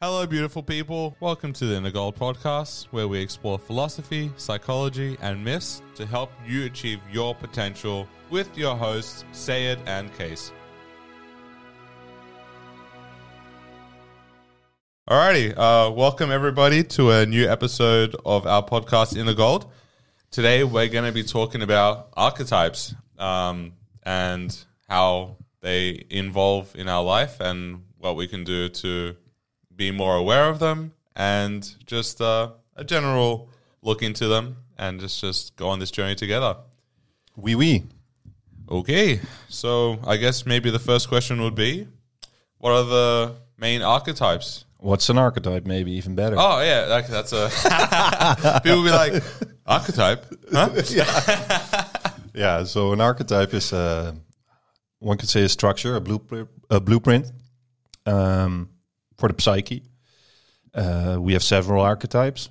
Hello, beautiful people. Welcome to the Inner Goal podcast, where we explore philosophy, psychology, and myths to help you achieve your potential with your hosts, Sayed and Case. Alrighty, uh, welcome everybody to a new episode of our podcast, Inner Gold. Today, we're going to be talking about archetypes um, and how they involve in our life and what we can do to be more aware of them and just uh, a general look into them and just just go on this journey together. Wee wee. Okay, so I guess maybe the first question would be, what are the main archetypes? What's an archetype? Maybe even better. Oh yeah, like that's a people be like archetype, huh? Yeah. So an archetype is uh, one could say a structure, a blueprint, a blueprint um, for the psyche. Uh, we have several archetypes.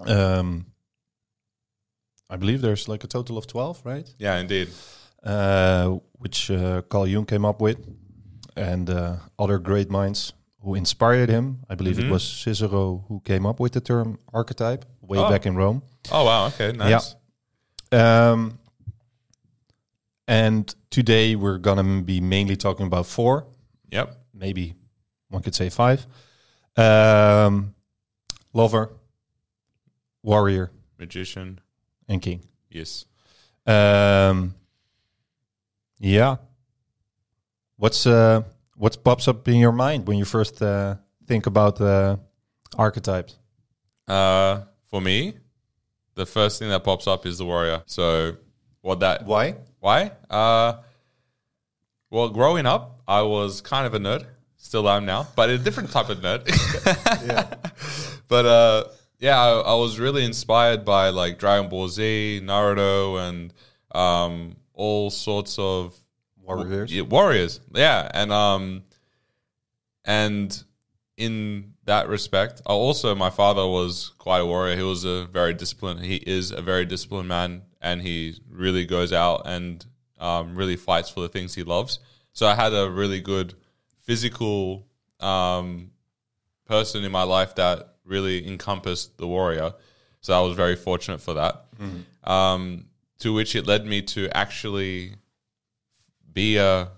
Um, I believe there's like a total of twelve, right? Yeah, indeed. Uh, which uh, Carl Jung came up with, and uh, other great minds who inspired him. I believe Mm-hmm. it was Cicero who came up with the term archetype way Oh. back in Rome. Oh wow, okay, nice. Um, and today we're gonna be mainly talking about four, Yep. maybe one could say five. Um, lover, warrior, Magician, and king. yes. Um, yeah. What's uh, what pops up in your mind when you first uh, think about uh, archetypes? Uh, for me, the first thing that pops up is the warrior. So what that Why? Why? Uh, well, growing up, I was kind of a nerd. Still am now, but a different type of nerd. But uh, yeah, I, I was really inspired by like Dragon Ball Z, Naruto, and um, all sorts of Warriors. yeah, warriors. Yeah, and um, and in that respect, I also my father was quite a warrior. He was a very disciplined. He is a very disciplined man, and he really goes out and um, really fights for the things he loves. So I had a really good physical um, person in my life that really encompassed the warrior. So I was very fortunate for that. Um, to which it led me to actually be a,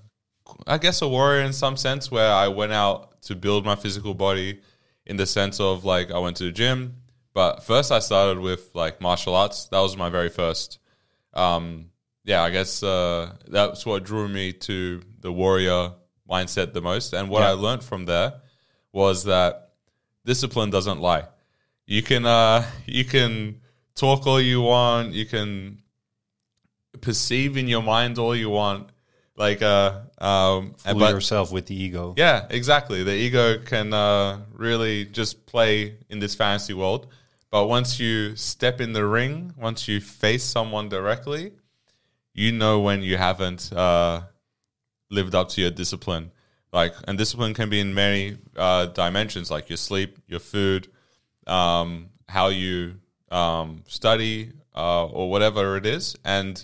I guess, a warrior in some sense, where I went out to build my physical body in the sense of like I went to the gym. But first, I started with like martial arts. That was my very first. Um, yeah, I guess uh, that's what drew me to the warrior mindset the most. And what I learned from there was that discipline doesn't lie. You can uh, you can talk all you want. You can perceive in your mind all you want. Like uh, um, Fool but- yourself with the ego. yeah, exactly. The ego can uh, really just play in this fantasy world. But once you step in the ring, once you face someone directly, you know when you haven't uh, lived up to your discipline. Like, and discipline can be in many uh, dimensions, like your sleep, your food, um, how you um, study, uh, or whatever it is. And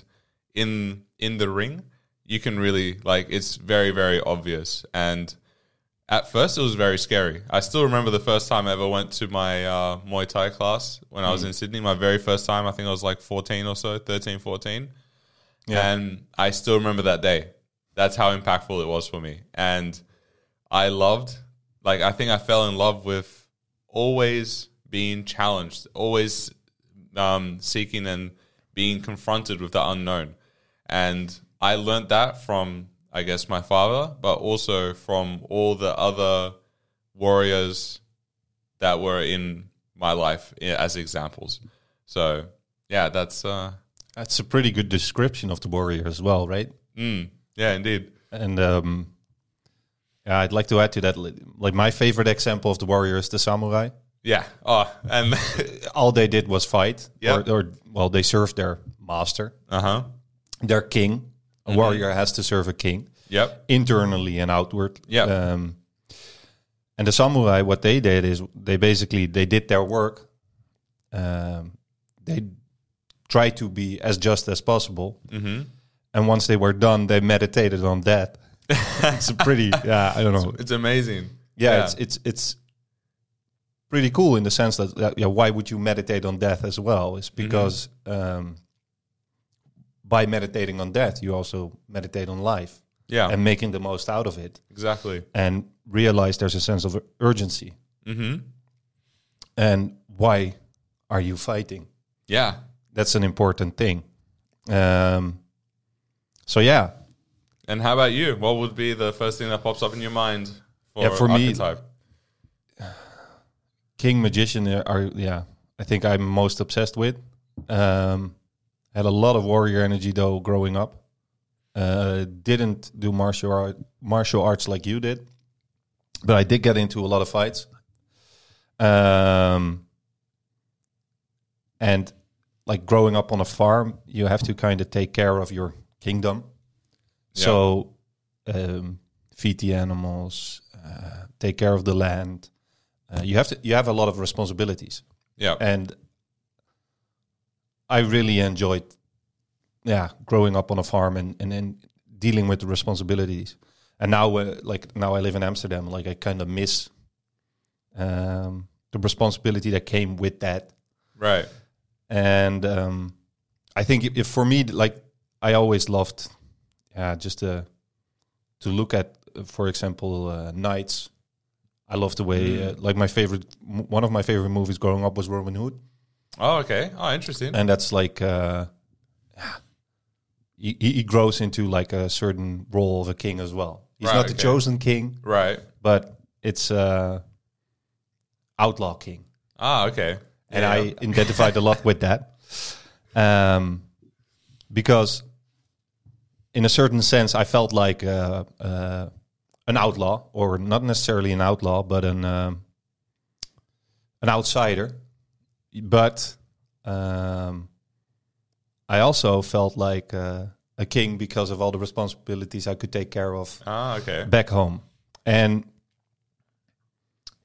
in in the ring, you can really like it's very very obvious. And at first, it was very scary. I still remember the first time I ever went to my uh, Muay Thai class when I was in Sydney. My very first time, I think I was like 14 or so, 13, 14. Yeah. And I still remember that day. That's how impactful it was for me. And I loved, like, I think I fell in love with always being challenged, always um, seeking and being confronted with the unknown. And I learned that from, I guess, my father, but also from all the other warriors that were in my life i- as examples. So, yeah, that's, uh, That's a pretty good description of the warrior as well, right? mm, yeah, indeed. And um, yeah, I'd like to add to that, li- like my favorite example of the warrior is the samurai. Yeah. Oh, and, All they did was fight, Yeah. or, or well, they served their master, uh huh. their king. A Mm-hmm. warrior has to serve a king Yep. internally and outward. Yeah. Um, and the samurai, what they did is they basically they did their work. Um, they tried to be as just as possible, Mm-hmm. and once they were done, they meditated on that. it's a pretty, yeah, I don't know. It's amazing. yeah, Yeah. it's it's it's pretty cool in the sense that, that yeah, why would you meditate on death as well? Is because um, by meditating on death, you also meditate on life Yeah, and making the most out of it, exactly. and realize there's a sense of urgency. hmm And why are you fighting? Yeah, That's an important thing. Um, so yeah, and how about you? What would be the first thing that pops up in your mind for, Yeah, for me- archetype? King Magician are- are yeah, I think I'm most obsessed with. Um, had a lot of warrior energy though growing up. Uh, didn't do martial art, martial arts like you did, but I did get into a lot of fights. Um, and like growing up on a farm, you have to kind of take care of your kingdom. Yeah. So, um, feed the animals, uh, take care of the land. Uh, you have to. You have a lot of responsibilities, Yeah, and I really enjoyed, yeah, growing up on a farm and and then dealing with the responsibilities. And now, uh, like now, I live in Amsterdam. Like I kind of miss um, the responsibility that came with that right. and um, I think if, if for me, like I always loved, yeah, just to to look at, uh, for example, uh, Knights. I love the way, Mm. uh, like my favorite, m- one of my favorite movies growing up was Robin Hood, Oh, okay. Oh, interesting. and that's like, uh, he, he he grows into like a certain role of a king as well. He's Right, not the okay. chosen king, Right. but it's uh, outlaw king. Ah, okay. and Yeah. I identified a lot with that, um, because in a certain sense, I felt like uh, uh, an outlaw, or not necessarily an outlaw, but an um, an outsider. But um, I also felt like uh, a king because of all the responsibilities I could take care of Ah, okay. back home. And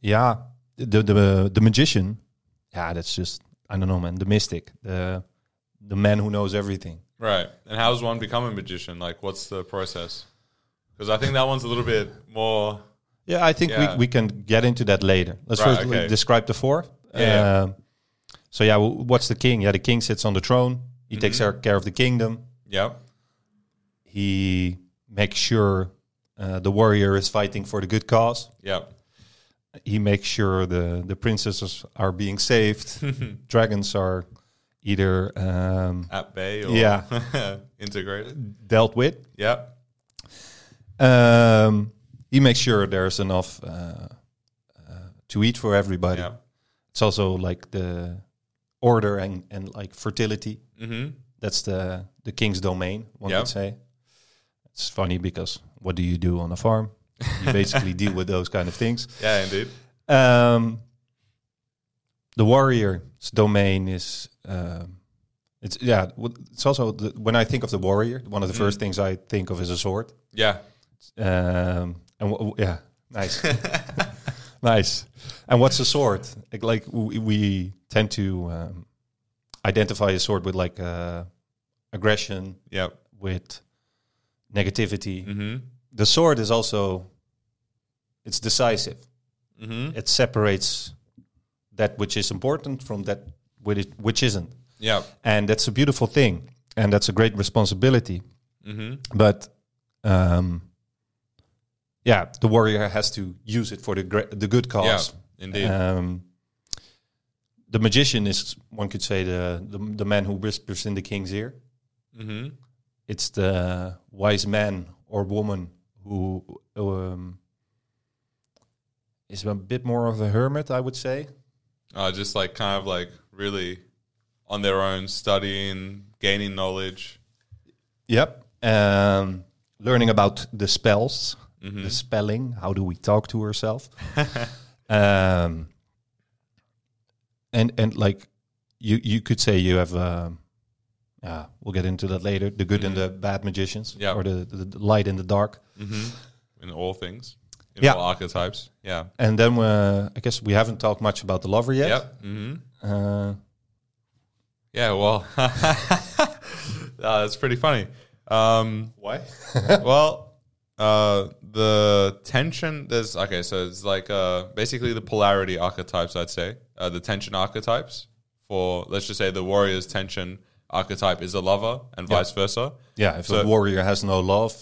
yeah, the the the magician, yeah, that's just I don't know, man. The mystic, the the man who knows everything. Right. And how does one become a magician? Like, what's the process? Because I think that one's a little bit more. Yeah, I think Yeah. we we can get into that later. Let's Right, first okay. describe the four. Yeah. Um, so yeah, w- what's the king? Yeah, the king sits on the throne. He takes Mm-hmm. care of the kingdom. Yeah. He makes sure uh, the warrior is fighting for the good cause. Yeah. he makes sure the the princesses are being saved. Dragons are either um, At bay or Yeah. integrated. dealt with. Yeah. Um, he makes sure there's enough uh, uh, to eat for everybody. Yeah. It's also like the order and and like fertility. Mm-hmm. That's the the king's domain. One Yeah. could say. It's funny because what do you do on a farm? You basically deal with those kind of things. Yeah, indeed. Um, the warrior's domain is um, it's yeah. w- It's also the, when I think of the warrior, one of the first things I think of is a sword. Yeah. Um, and w- w- yeah, nice, nice. And what's a sword? Like, like we, we tend to um, identify a sword with like uh, aggression, Yeah. with negativity. Mm-hmm. The sword is also it's decisive Mm-hmm. it separates that which is important from that which is- which isn't Yeah. and that's a beautiful thing and that's a great responsibility Mm-hmm. but um yeah the warrior has to use it for the gre- the good Yeah. cause Indeed. um the magician is one could say the, the the man who whispers in the king's ear mm-hmm. it's the wise man or woman who um is a bit more of a hermit i would say Uh, just like kind of like really on their own, studying, gaining knowledge. Yep. Um, learning about the spells, Mm-hmm. the spelling. How do we talk to ourselves? um, and and like you you could say you have. Um, yeah, we'll get into that later. The good and the bad magicians, Mm-hmm. Yeah. or the, the, the light and the dark. Mm-hmm. In all things, in Yeah. all archetypes. Yeah. And then uh, I guess we haven't talked much about the lover yet. Yep. Mm-hmm. Uh, Yeah, well, uh, that's pretty funny. Um, Why? well, uh, the tension there's okay so it's like uh, basically the polarity archetypes i'd say uh, the tension archetypes for let's just say the warrior's tension archetype is a lover and vice versa Yeah, if So- a warrior has no love,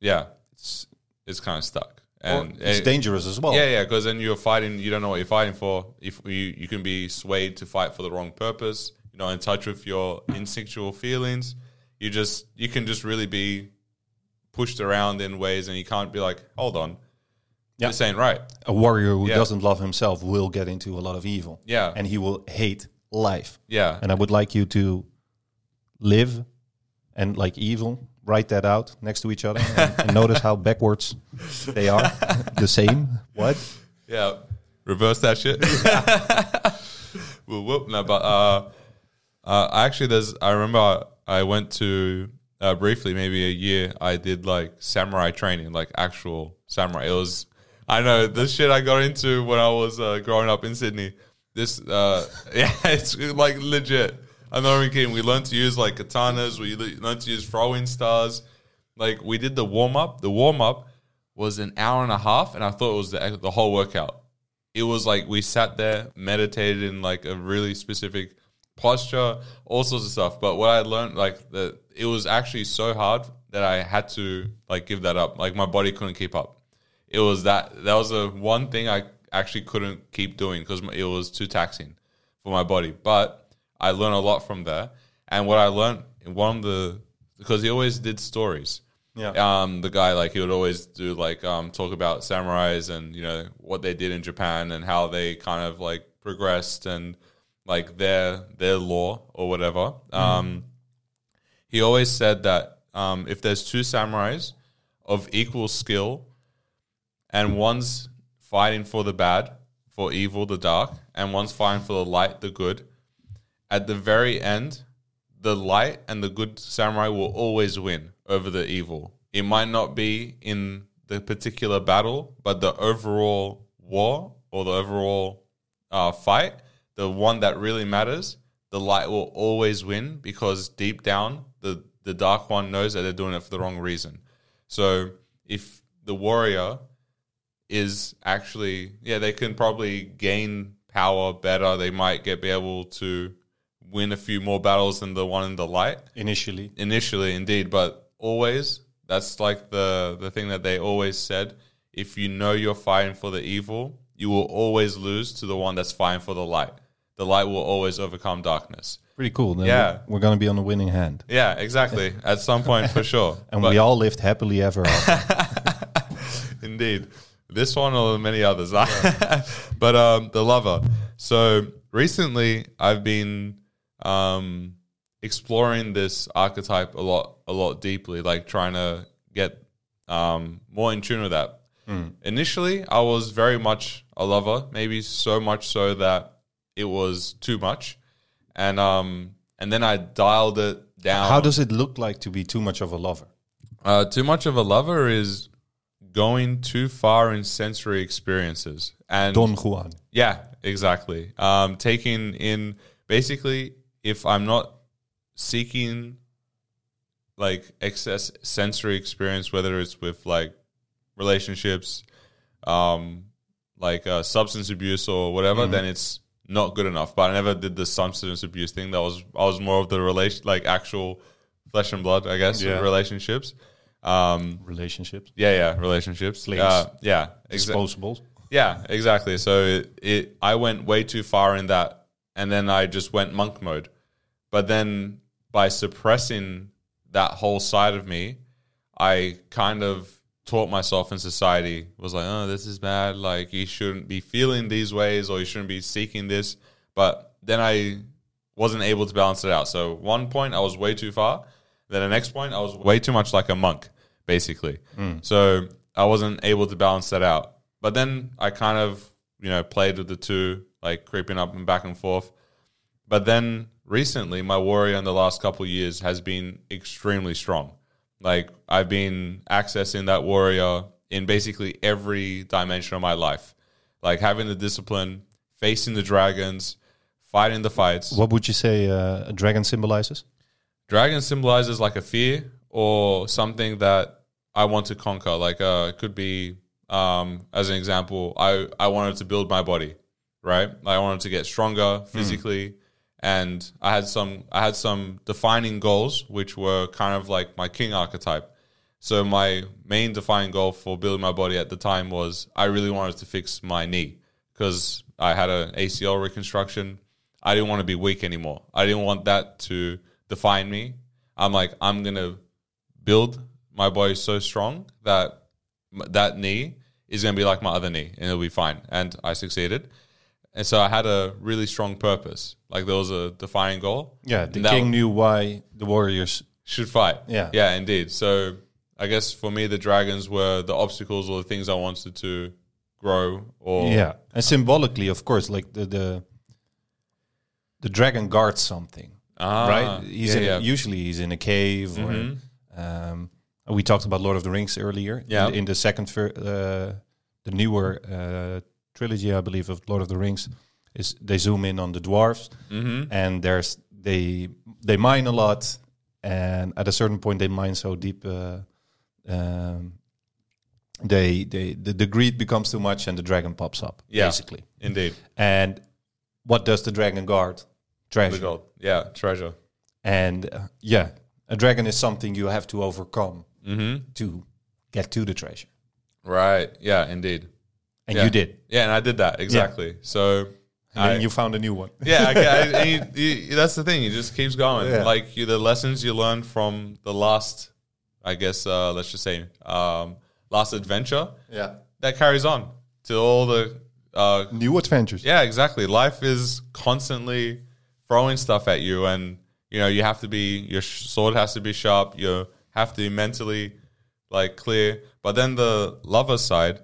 yeah it's it's kind of stuck and it's it- dangerous as well. yeah yeah because then you're fighting you don't know what you're fighting for if you you can be swayed to fight for the wrong purpose you're not in touch with your instinctual feelings you just you can just really be pushed around in ways and you can't be like hold on Yeah. this ain't right A warrior who Yeah. doesn't love himself will get into a lot of evil. Yeah. And he will hate life. yeah And I would like you to live and like evil, write that out next to each other and, and notice how backwards they are. the same. What? Yeah. Reverse that shit. well, whoop. No, but uh, uh, actually, there's. I remember I went to uh, briefly, maybe a year. I did like samurai training, like actual samurai. It was. I know this shit I got into when I was uh, growing up in Sydney. This, uh, yeah, it's like legit. I'm not even kidding. We learned to use like katanas. We le- learned to use throwing stars. Like we did the warm up. The warm up was an hour and a half, and I thought it was the, the whole workout. It was like we sat there, meditated in like a really specific posture, all sorts of stuff. But what I learned, like that, it was actually so hard that I had to like give that up. Like my body couldn't keep up. It was that that was the one thing I actually couldn't keep doing because it was too taxing for my body. But I learned a lot from there, and what I learned in one of the because he always did stories Yeah. um, the guy like he would always do like um, talk about samurais and you know what they did in Japan and how they kind of like progressed and like their their law or whatever. Um, he always said that um, if there's two samurais of equal skill and one's fighting for the bad, for evil, the dark, and one's fighting for the light, the good, at the very end, the light and the good samurai will always win over the evil. It might not be in the particular battle, but the overall war or the overall uh, fight, the one that really matters, the light will always win because deep down, the, the dark one knows that they're doing it for the wrong reason. So if the warrior is actually yeah they can probably gain power better they might get be able to win a few more battles than the one in the light Initially. initially indeed but always that's like the the thing that they always said if you know you're fighting for the evil you will always lose to the one that's fighting for the light the light will always overcome darkness Pretty cool. Then Yeah. We're going to be on the winning hand. yeah exactly at some point for sure And But- we all lived happily ever after. Indeed. This one or many others. but um, the lover. So recently I've been um, exploring this archetype a lot a lot deeply, like trying to get um, more in tune with that. Initially I was very much a lover, maybe so much so that it was too much. And um, and then I dialed it down. How does it look like to be too much of a lover? Uh, too much of a lover is going too far in sensory experiences, and Don Juan. yeah, exactly. Um, taking in basically, if I'm not seeking like excess sensory experience, whether it's with like relationships, um, like uh, substance abuse or whatever, then it's not good enough. But I never did the substance abuse thing. That was I was more of the relation, like actual flesh and blood, I guess, Yeah. relationships. Um, Relationships. yeah, yeah, relationships. Links. Uh, yeah, exactly. Disposables. Yeah, exactly. So it, it, I went way too far in that, and then I just went monk mode. But then by suppressing that whole side of me, I kind of taught myself in society was like, oh, this is bad. Like you shouldn't be feeling these ways, or you shouldn't be seeking this. But then I wasn't able to balance it out. So one point I was way too far. Then the next point I was way too much like a monk, basically. So I wasn't able to balance that out. But then I kind of, you know, played with the two, like creeping up and back and forth. But then recently, my warrior in the last couple of years has been extremely strong. Like I've been accessing that warrior in basically every dimension of my life, like having the discipline, facing the dragons, fighting the fights. What would you say uh, a dragon symbolizes? Dragon symbolizes like a fear or something that I want to conquer. Like uh, it could be um, as an example, I I wanted to build my body, right? I wanted to get stronger physically, and I had some I had some defining goals which were kind of like my king archetype. So my main defining goal for building my body at the time was I really wanted to fix my knee because I had an ACL reconstruction. I didn't want to be weak anymore. I didn't want that to define me. I'm like I'm gonna build my body so strong that m- that knee is going to be like my other knee and it'll be fine. And I succeeded. And so I had a really strong purpose. Like there was a defining goal. Yeah, the And that king knew why the warriors. should fight. Yeah. Yeah, indeed. So I guess for me, the dragons were the obstacles or the things I wanted to grow or. Yeah, and symbolically, of course, like the the the dragon guards something, Ah, right? He's yeah, in a- yeah. usually he's in a cave, or um, we talked about Lord of the Rings earlier. in Yeah. the- in, the second, ver- uh, the newer uh, trilogy, I believe, of Lord of the Rings, is they zoom in on the dwarves, Mm-hmm. and there's they they mine a lot, and at a certain point they mine so deep. Uh, um, they, they the, the greed becomes too much and the dragon pops up Yeah. basically Indeed. and what does the dragon guard? The Treasure. gold. Yeah, treasure. And uh, yeah, a dragon is something you have to overcome Mm-hmm. to get to the treasure. Right. Yeah, indeed. And Yeah. you did. Yeah, and I did that. Exactly. So. And I- then you found a new one. yeah, I, I, and you, you, that's the thing. It just keeps going. Yeah. Like you, the lessons you learn from the last, I guess, uh, let's just say, um, last adventure Yeah. that carries on to all the. Uh, New adventures. yeah, exactly. Life is constantly throwing stuff at you, and you know you have to be your sh- sword has to be sharp. You have to be mentally like clear. But then the lover side,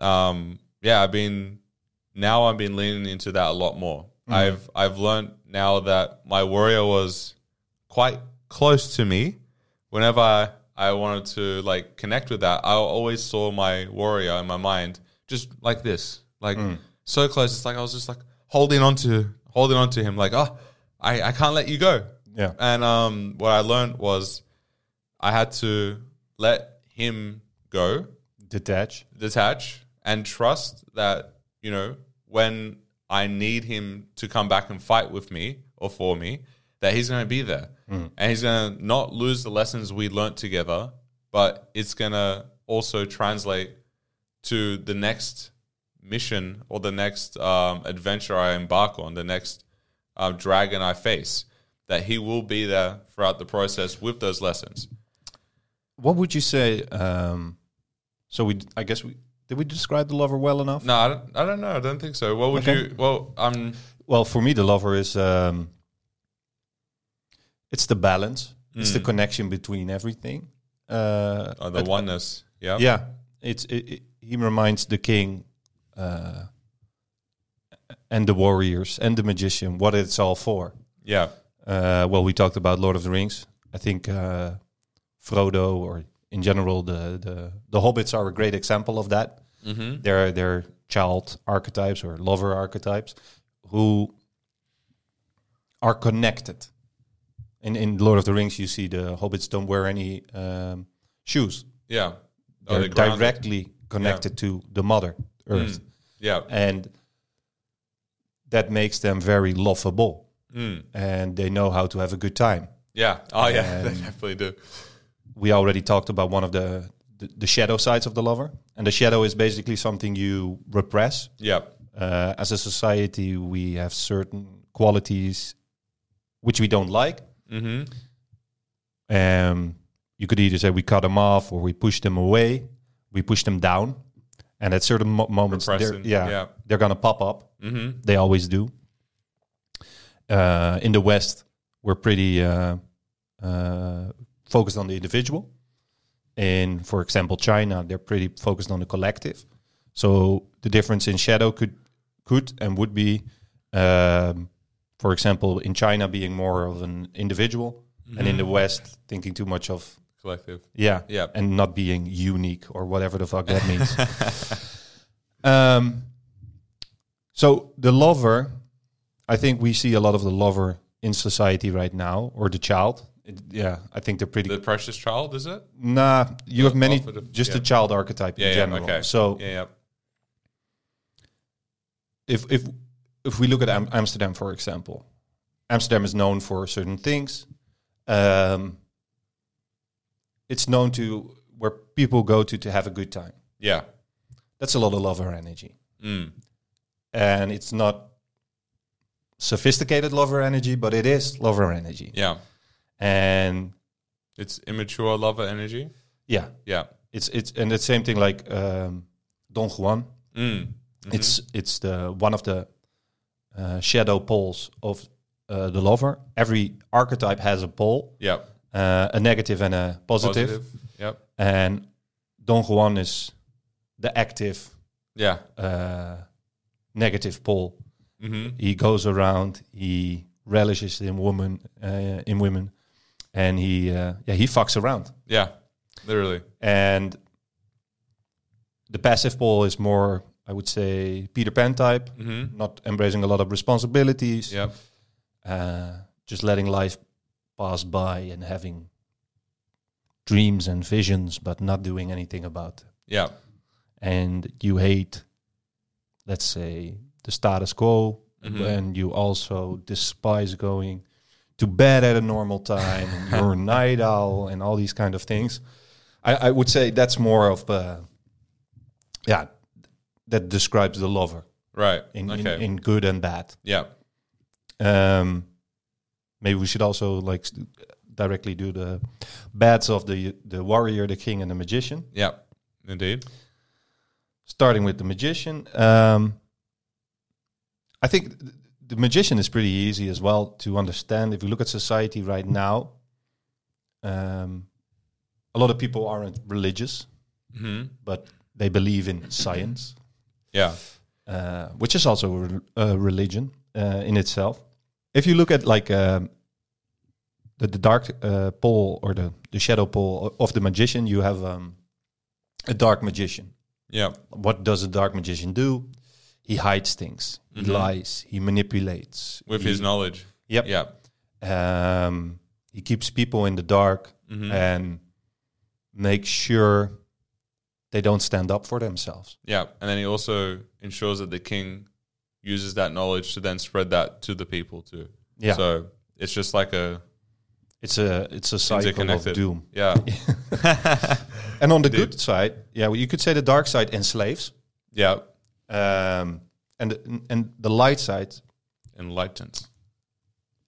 um, yeah, I've been now I've been leaning into that a lot more. I've I've learned now that my warrior was quite close to me. Whenever I, I wanted to like connect with that, I always saw my warrior in my mind just like this, like so close. It's like I was just like holding on to holding on to him, like oh, I I can't let you go. Yeah. And um, what I learned was I had to let him go Detach. detach and trust that you know when I need him to come back and fight with me or for me, that he's going to be there and he's going to not lose the lessons we learnt together, but it's going to also translate to the next mission or the next um, adventure I embark on, the next uh, dragon I face. That he will be there throughout the process with those lessons. What would you say? Um, so we, d- I guess we, did we describe the lover well enough? No, I don't, I don't know. I don't think so. What would Okay. you? Well, um, I'm. Well, for me, the lover is, um, it's the balance. It's the connection between everything. Uh, Oh, the at- oneness. Yeah. yeah it's it, it, he reminds the king uh and the warriors and the magician what it's all for Yeah. uh well we talked about lord of the rings i think uh frodo or in general the the, the hobbits are a great example of that Mm-hmm. they're they're child archetypes or lover archetypes who are connected in in lord of the rings you see the hobbits don't wear any um shoes Yeah. Oh, the they're ground- directly connected to the mother earth Mm. Yeah. and that makes them very lovable Mm. and they know how to have a good time Yeah. Oh, yeah. They definitely do. we already talked about one of the the, the shadow sides of the lover and the shadow is basically something you repress Yeah. uh, as a society we have certain qualities which we don't like Mm-hmm. um, you could either say we cut them off or we push them away, we push them down, and at certain mo- moments, they're- Repressing, yeah, yeah. they're gonna pop up. Mm-hmm. They always do. Uh, in the West, we're pretty uh, uh, focused on the individual. In, for example, China, they're pretty focused on the collective. So the difference in shadow could could and would be, um, for example, in China being more of an individual, and in the West thinking too much of Collective. yeah, Yeah. and not being unique or whatever the fuck that means. um, so the lover, I think we see a lot of the lover in society right now, or the child, It, yeah, I think they're pretty. The precious child, is it? nah, you have many. Alpha, the- just yeah. the child archetype Yeah, in yeah, general. okay. So Yeah, yeah. if if if we look at Am- Amsterdam, for example, Amsterdam is known for certain things. Um, it's known to where people go to to have a good time. Yeah. That's a lot of love or energy, Mm. and it's not sophisticated lover energy, but it is lover energy, Yeah. and It's immature lover energy. yeah, Yeah. it's it's and the same thing like um, Don Juan. Mm. Mhm. It's it's the one of the uh, shadow poles of uh, the lover. Every archetype has a pole, Yep. uh, a negative and a positive. Yep. And Don Juan is the active Yeah. uh, negative pole. hmm He goes around. He relishes in women, uh, in women, and he uh, yeah he fucks around. Yeah. Literally. And the passive pole is more, I would say, Peter Pan type. hmm not embracing a lot of responsibilities, Yep. uh, just letting life pass by and having dreams and visions, but not doing anything about. it. Yeah. And you hate, let's say, the status quo, Mhm. and you also despise going to bed at a normal time. and you're a night owl, and all these kind of things. I, I would say that's more of, uh, yeah, that describes the lover Right. in, in, okay. in good and bad. yeah. Um, maybe we should also like st- directly do the bats of the the warrior, the king, and the magician. Yeah. Indeed. Starting with the magician, um, I think th- the magician is pretty easy as well to understand. If you look at society right now, um, a lot of people aren't religious, hmm but they believe in science, Yeah. uh, which is also a, rel- a religion uh, in itself. If you look at like um, the, the dark uh, pole or the, the shadow pole o- of the magician, you have um, a dark magician. Yeah. What does a dark magician do? He hides things, he Mhm. lies, he manipulates. With he, his knowledge. Yep. Yeah. Um, he keeps people in the dark hmm and makes sure they don't stand up for themselves. yeah. And then he also ensures that the king uses that knowledge to then spread that to the people too. Yeah, So it's just like a it's a it's a cycle of interconnected. doom. yeah. And on the Indeed. good side, yeah, well, you could say the dark side enslaves, yeah. um, and the, and the light side, Enlightened.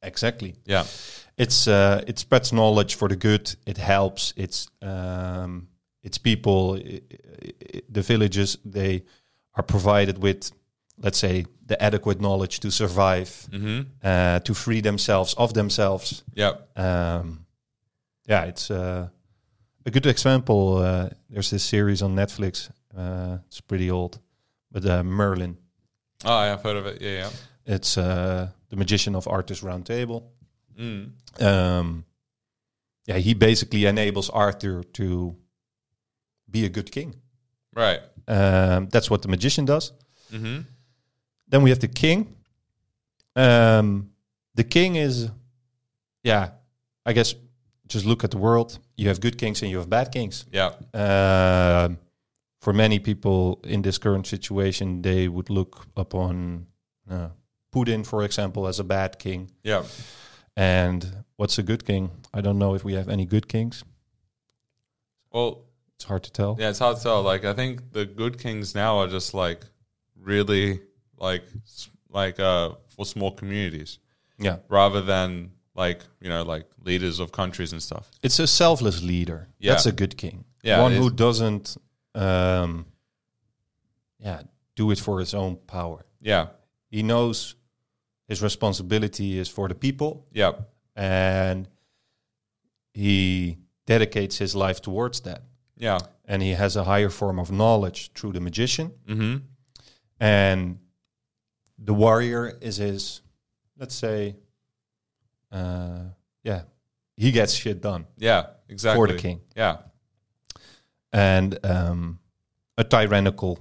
exactly. Yeah. It's uh, it spreads knowledge for the good. It helps. It's um, it's people, i i i the villages. They are provided with, let's say, the adequate knowledge to survive, hmm uh, to free themselves of themselves. Yeah. Um, yeah, it's uh, a good example. Uh, there's this series on Netflix. Uh, it's pretty old, but uh, Merlin. Oh, yeah, I've heard of it. Yeah. It's uh, the magician of Arthur's Round Table. Yeah. Mm. Um, yeah, he basically enables Arthur to be a good king. Right. Um, that's what the magician does. hmm Then we have the king. Um, the king is, yeah, I guess just look at the world. You have good kings and you have bad kings. Yeah. Um, for many people in this current situation, they would look upon uh, Putin, for example, as a bad king. Yeah. And what's a good king? I don't know if we have any good kings. Well, It's hard to tell. yeah, it's hard to tell. Like, I think the good kings now are just like really like s- like uh for small communities Yeah. rather than like you know like leaders of countries and stuff. It's a selfless leader. Yeah. That's a good king. Yeah, One it who is. doesn't, um, yeah, do it for his own power. Yeah. He knows his responsibility is for the people Yeah. and he dedicates his life towards that. Yeah. And he has a higher form of knowledge through the magician. hmm And the warrior is his, let's say, uh, yeah, he gets shit done Yeah. Exactly. for the king. Yeah. And um, a tyrannical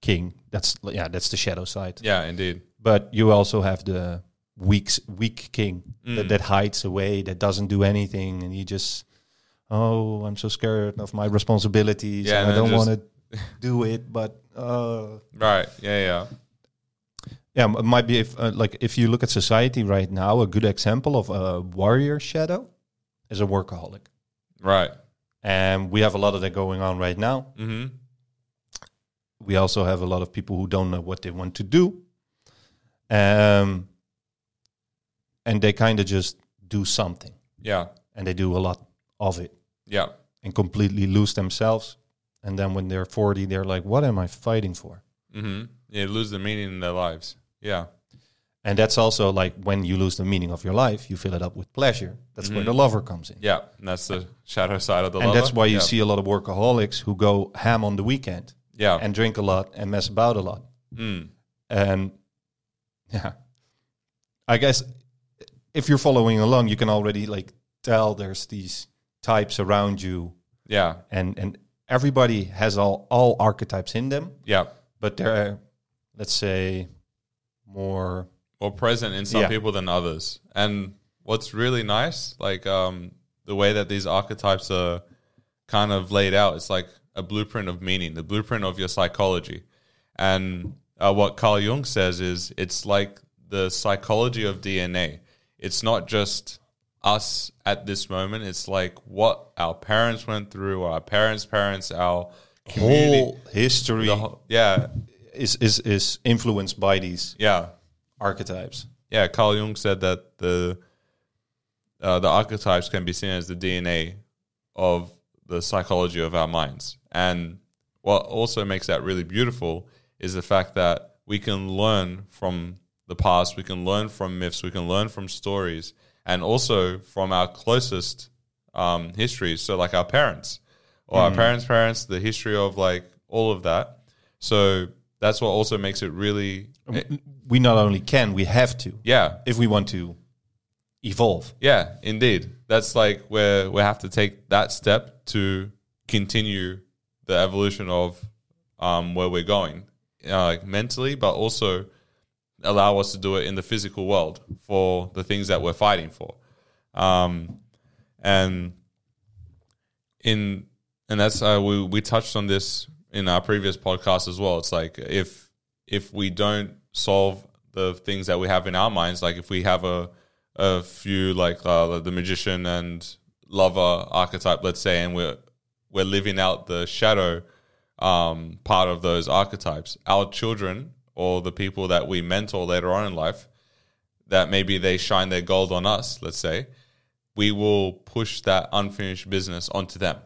king. That's yeah, that's the shadow side. Yeah. Indeed. But you also have the weak s- weak king that, that hides away, that doesn't do anything, and he just oh, I'm so scared of my responsibilities, Yeah, and I and don't then want to do it, but. Uh, Right. Yeah. Yeah. yeah, m- it might be if uh, like if you look at society right now, a good example of a warrior shadow is a workaholic, Right. and we have a lot of that going on right now. Mm-hmm. We also have a lot of people who don't know what they want to do, um, and they kind of just do something, Yeah. and they do a lot of it, Yeah. and completely lose themselves. And then when they're forty, they're like, "What am I fighting for?" Mm-hmm. Yeah. Lose the meaning in their lives. Yeah. And that's also like when you lose the meaning of your life, you fill it up with pleasure. That's where the lover comes in. Yeah. And that's the shadow side of the. and that's Mm-hmm. lover. why you yeah. see a lot of workaholics who go ham on the weekend Yeah. and drink a lot and mess about a lot mm. and yeah i guess if you're following along you can already like tell there's these types around you Yeah. and and everybody has all all archetypes in them Yeah. but they're let's say more or present in some Yeah. people than others. And what's really nice, like um, the way that these archetypes are kind of laid out, it's like a blueprint of meaning, the blueprint of your psychology. And uh, what Carl Jung says is it's like the psychology of DNA. It's not just us at this moment, it's like what our parents went through, our parents' parents, our community. whole history the whole- yeah, is, is is influenced by these yeah. archetypes Yeah, Carl Jung said that the uh, the archetypes can be seen as the DNA of the psychology of our minds. And what also makes that really beautiful is the fact that we can learn from the past, we can learn from myths, we can learn from stories, and also from our closest um, histories. So, like our parents or our parents' parents, the history of like all of that. So, that's what also makes it really, Um, we not only can we have to yeah, if we want to evolve. Yeah, indeed. That's like where we have to take that step to continue the evolution of um, where we're going, uh, like mentally, but also allow us to do it in the physical world for the things that we're fighting for. Um, and in and that's uh, we we touched on this in our previous podcast as well. It's like if if we don't solve the things that we have in our minds, like if we have a a few like uh, the magician and lover archetype, let's say, and we're we're living out the shadow um, part of those archetypes. Our children or the people that we mentor later on in life, that maybe they shine their gold on us, let's say, we will push that unfinished business onto them.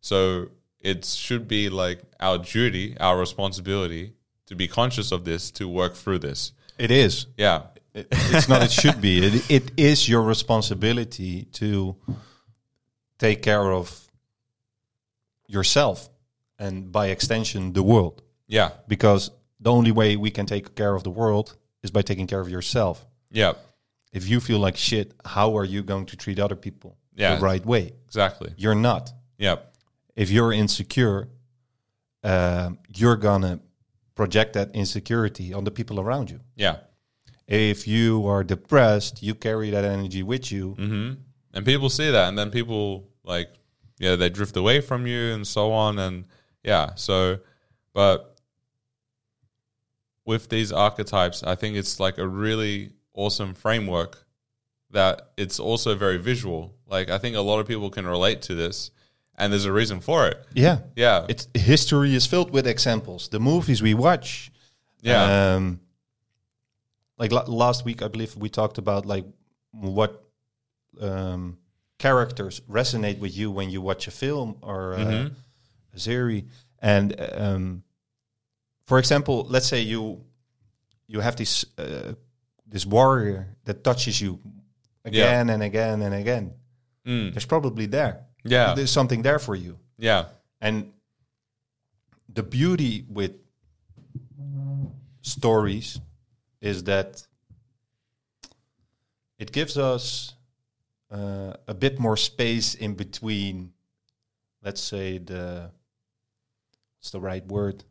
So it should be like our duty, our responsibility to be conscious of this, to work through this. It is. Yeah. It's not. It should be. It, it is your responsibility to take care of yourself and, by extension, the world. Yeah. Because the only way we can take care of the world is by taking care of yourself. Yeah. If you feel like shit, how are you going to treat other people Yeah. the right way? Exactly. You're not. Yeah. if you're insecure, um, you're gonna project that insecurity on the people around you. Yeah. If you are depressed, you carry that energy with you. hmm And people see that, and then people like, yeah, they drift away from you and so on, and yeah. So, but with these archetypes, I think it's like a really awesome framework that it's also very visual. Like, I think a lot of people can relate to this, and there's a reason for it. Yeah, Yeah, it's history is filled with examples. The movies we watch. yeah, Um, like la- last week, I believe we talked about like what um, characters resonate with you when you watch a film or uh, Mhm. a series. And um, for example, let's say you you have this uh, this warrior that touches you again and again and again. Mm. There's probably there. yeah, There's something there for you. yeah, And the beauty with stories is that it gives us uh, a bit more space in between, let's say, the. What's the right word?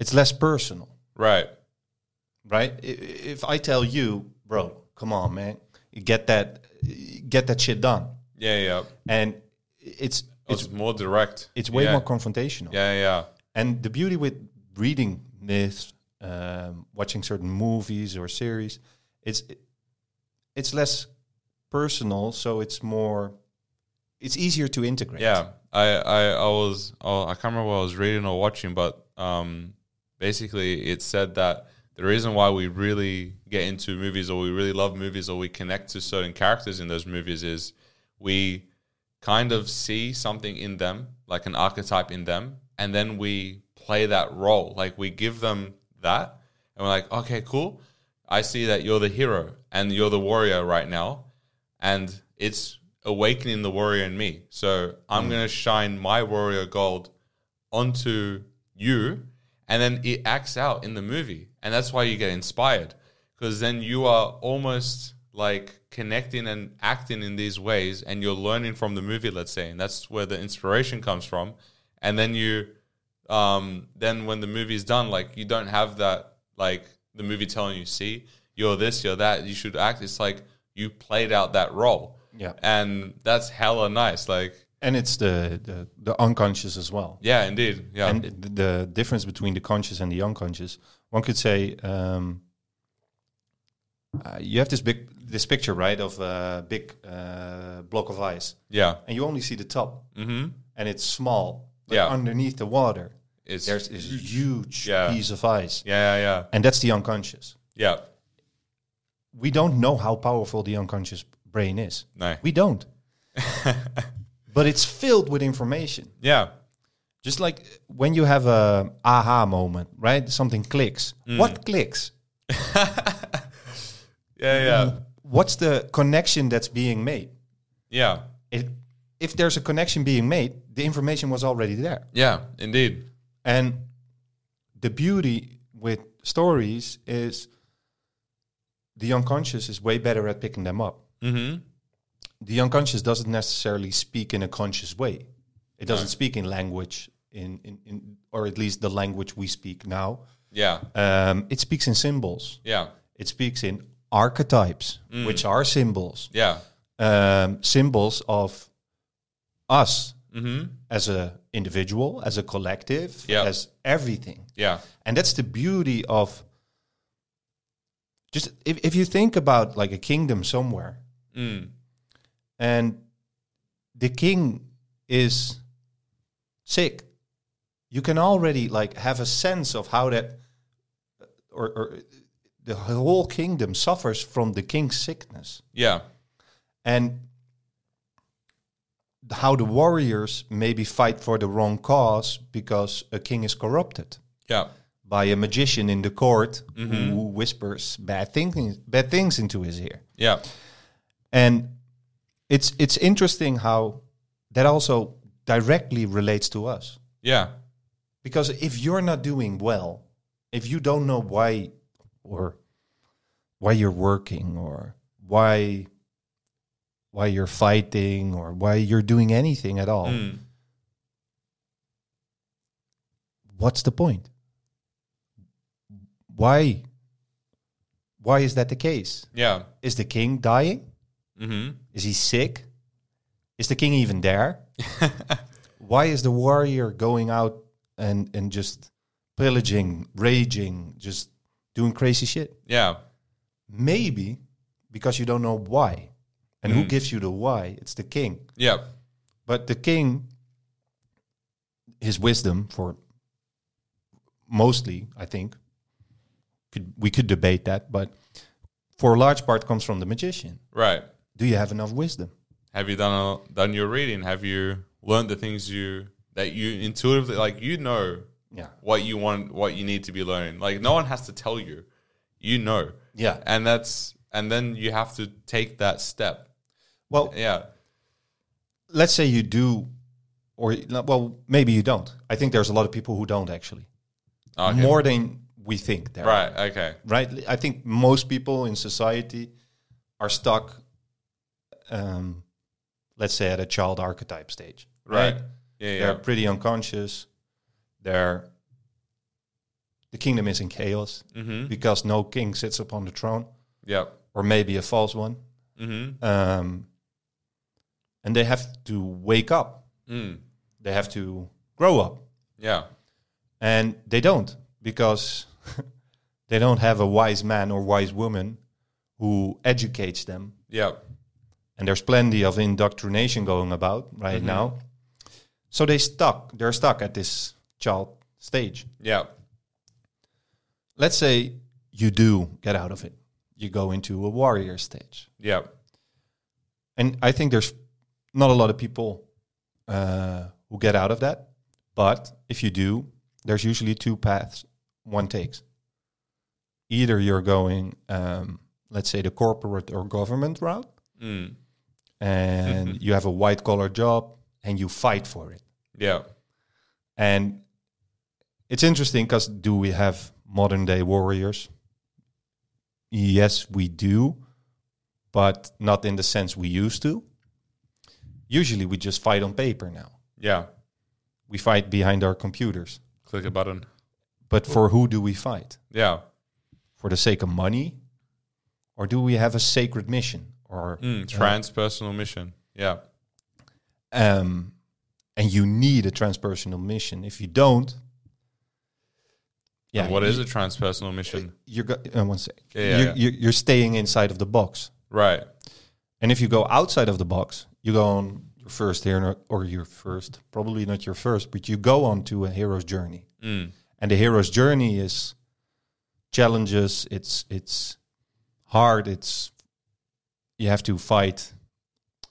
It's less personal. right, right? I- i- If I tell you, bro, come on, man, get that, get that shit done, Yeah, yeah. and it's It's, it's more direct. it's way yeah. more confrontational. Yeah, yeah. And the beauty with reading myths, um, watching certain movies or series, it's it's less personal, so it's more, it's easier to integrate. Yeah, I, I, I was, oh, I can't remember what I was reading or watching, but um, basically it said that the reason why we really get into movies or we really love movies or we connect to certain characters in those movies is we kind of see something in them, like an archetype in them, and then we play that role. Like we give them that, and we're like, okay, cool. I see that you're the hero and you're the warrior right now, and it's awakening the warrior in me. So I'm gonna shine my warrior gold onto you, and then it acts out in the movie, and that's why you get inspired because then you are almost like connecting and acting in these ways, and you're learning from the movie. Let's say, and that's where the inspiration comes from, and then you, um, then when the movie's done, like you don't have that like the movie telling you, see, you're this, you're that, you should act. It's like you played out that role, Yeah. and that's hella nice. Like, and it's the, the the unconscious as well. yeah, indeed, yeah. and the, the difference between the conscious and the unconscious one could say um, uh, you have this big this picture right of a big uh, block of ice yeah, and you only see the top hmm and it's small but Yeah. underneath the water It's there's this huge Yeah. piece of ice yeah, yeah, and that's the unconscious yeah, yeah. we don't know how powerful the unconscious brain is No, we don't but it's filled with information yeah, just like when you have a aha moment right something clicks Mm. what clicks yeah, yeah, what's the connection that's being made? Mm-hmm. yeah, It, if there's a connection being made, the information was already there. yeah, indeed. And the beauty with stories is the unconscious is way better at picking them up. hmm The unconscious doesn't necessarily speak in a conscious way. It doesn't speak in language, in, in, in or at least the language we speak now. Yeah, Um, it speaks in symbols. yeah, It speaks in archetypes, which are symbols. yeah, um, symbols of us hmm as a individual, as a collective, Yeah. as everything. yeah, And that's the beauty of just if, if you think about like a kingdom somewhere mm. and the king is sick, you can already like have a sense of how that uh, or, or the whole kingdom suffers from the king's sickness. yeah, and th- how the warriors maybe fight for the wrong cause because a king is corrupted yeah, by a magician in the court who whispers bad things bad things into his ear yeah, and it's it's interesting how that also directly relates to us yeah, because if you're not doing well if you don't know why or why you're working or why why you're fighting or why you're doing anything at all mm. what's the point why why is that the case yeah, is the king dying hmm is he sick is the king even there why is the warrior going out and and just pillaging raging just doing crazy shit yeah, maybe because you don't know why and who gives you the why it's the king yeah, but the king his wisdom for mostly i think could we could debate that but for a large part comes from the magician right. do you have enough wisdom Have you done a, done your reading? Have you learned the things you that you intuitively like? You know yeah what you want, what you need to be learning. Like no one has to tell you, you know, yeah and that's and then you have to take that step. well Yeah, let's say you do or no, well maybe you don't i think there's a lot of people who don't actually Ah, Okay. more than we think there right. Okay. right? I think most people in society are stuck, um, let's say, at a child archetype stage. Right. Yeah. Yeah. They're pretty unconscious. They're the kingdom is in chaos Mm-hmm. because no king sits upon the throne, Yep. or maybe a false one. Mm-hmm. Um, and they have to wake up. Mm. They have to grow up, Yeah. and they don't because they don't have a wise man or wise woman who educates them Yep. and there's plenty of indoctrination going about right now. So they stuck. They're stuck at this child stage. Yep. Let's say you do get out of it. You go into a warrior stage, Yep. and I think there's not a lot of people uh, who get out of that. But if you do, there's usually two paths one takes. Either you're going, um, let's say, the corporate or government route, Mm. and you have a white collar job and you fight for it. Yep. And it's interesting because do we have modern day warriors? Yes, we do, but not in the sense we used to. Usually we just fight on paper now. Yeah. We fight behind our computers. Click a button. But for who do we fight? Yeah. For the sake of money? Or do we have a sacred mission? Or Mm. Transpersonal mission. Yeah. um, and you need a transpersonal mission. If you don't, And what you- is a transpersonal mission? You're go- uh, one sec. Yeah, yeah, you're, yeah. You're, you're staying inside of the box, Right. and if you go outside of the box, you go on your first hero or your first, probably not your first, but you go on to a hero's journey, Mm. and the hero's journey is challenges. It's it's hard. It's you have to fight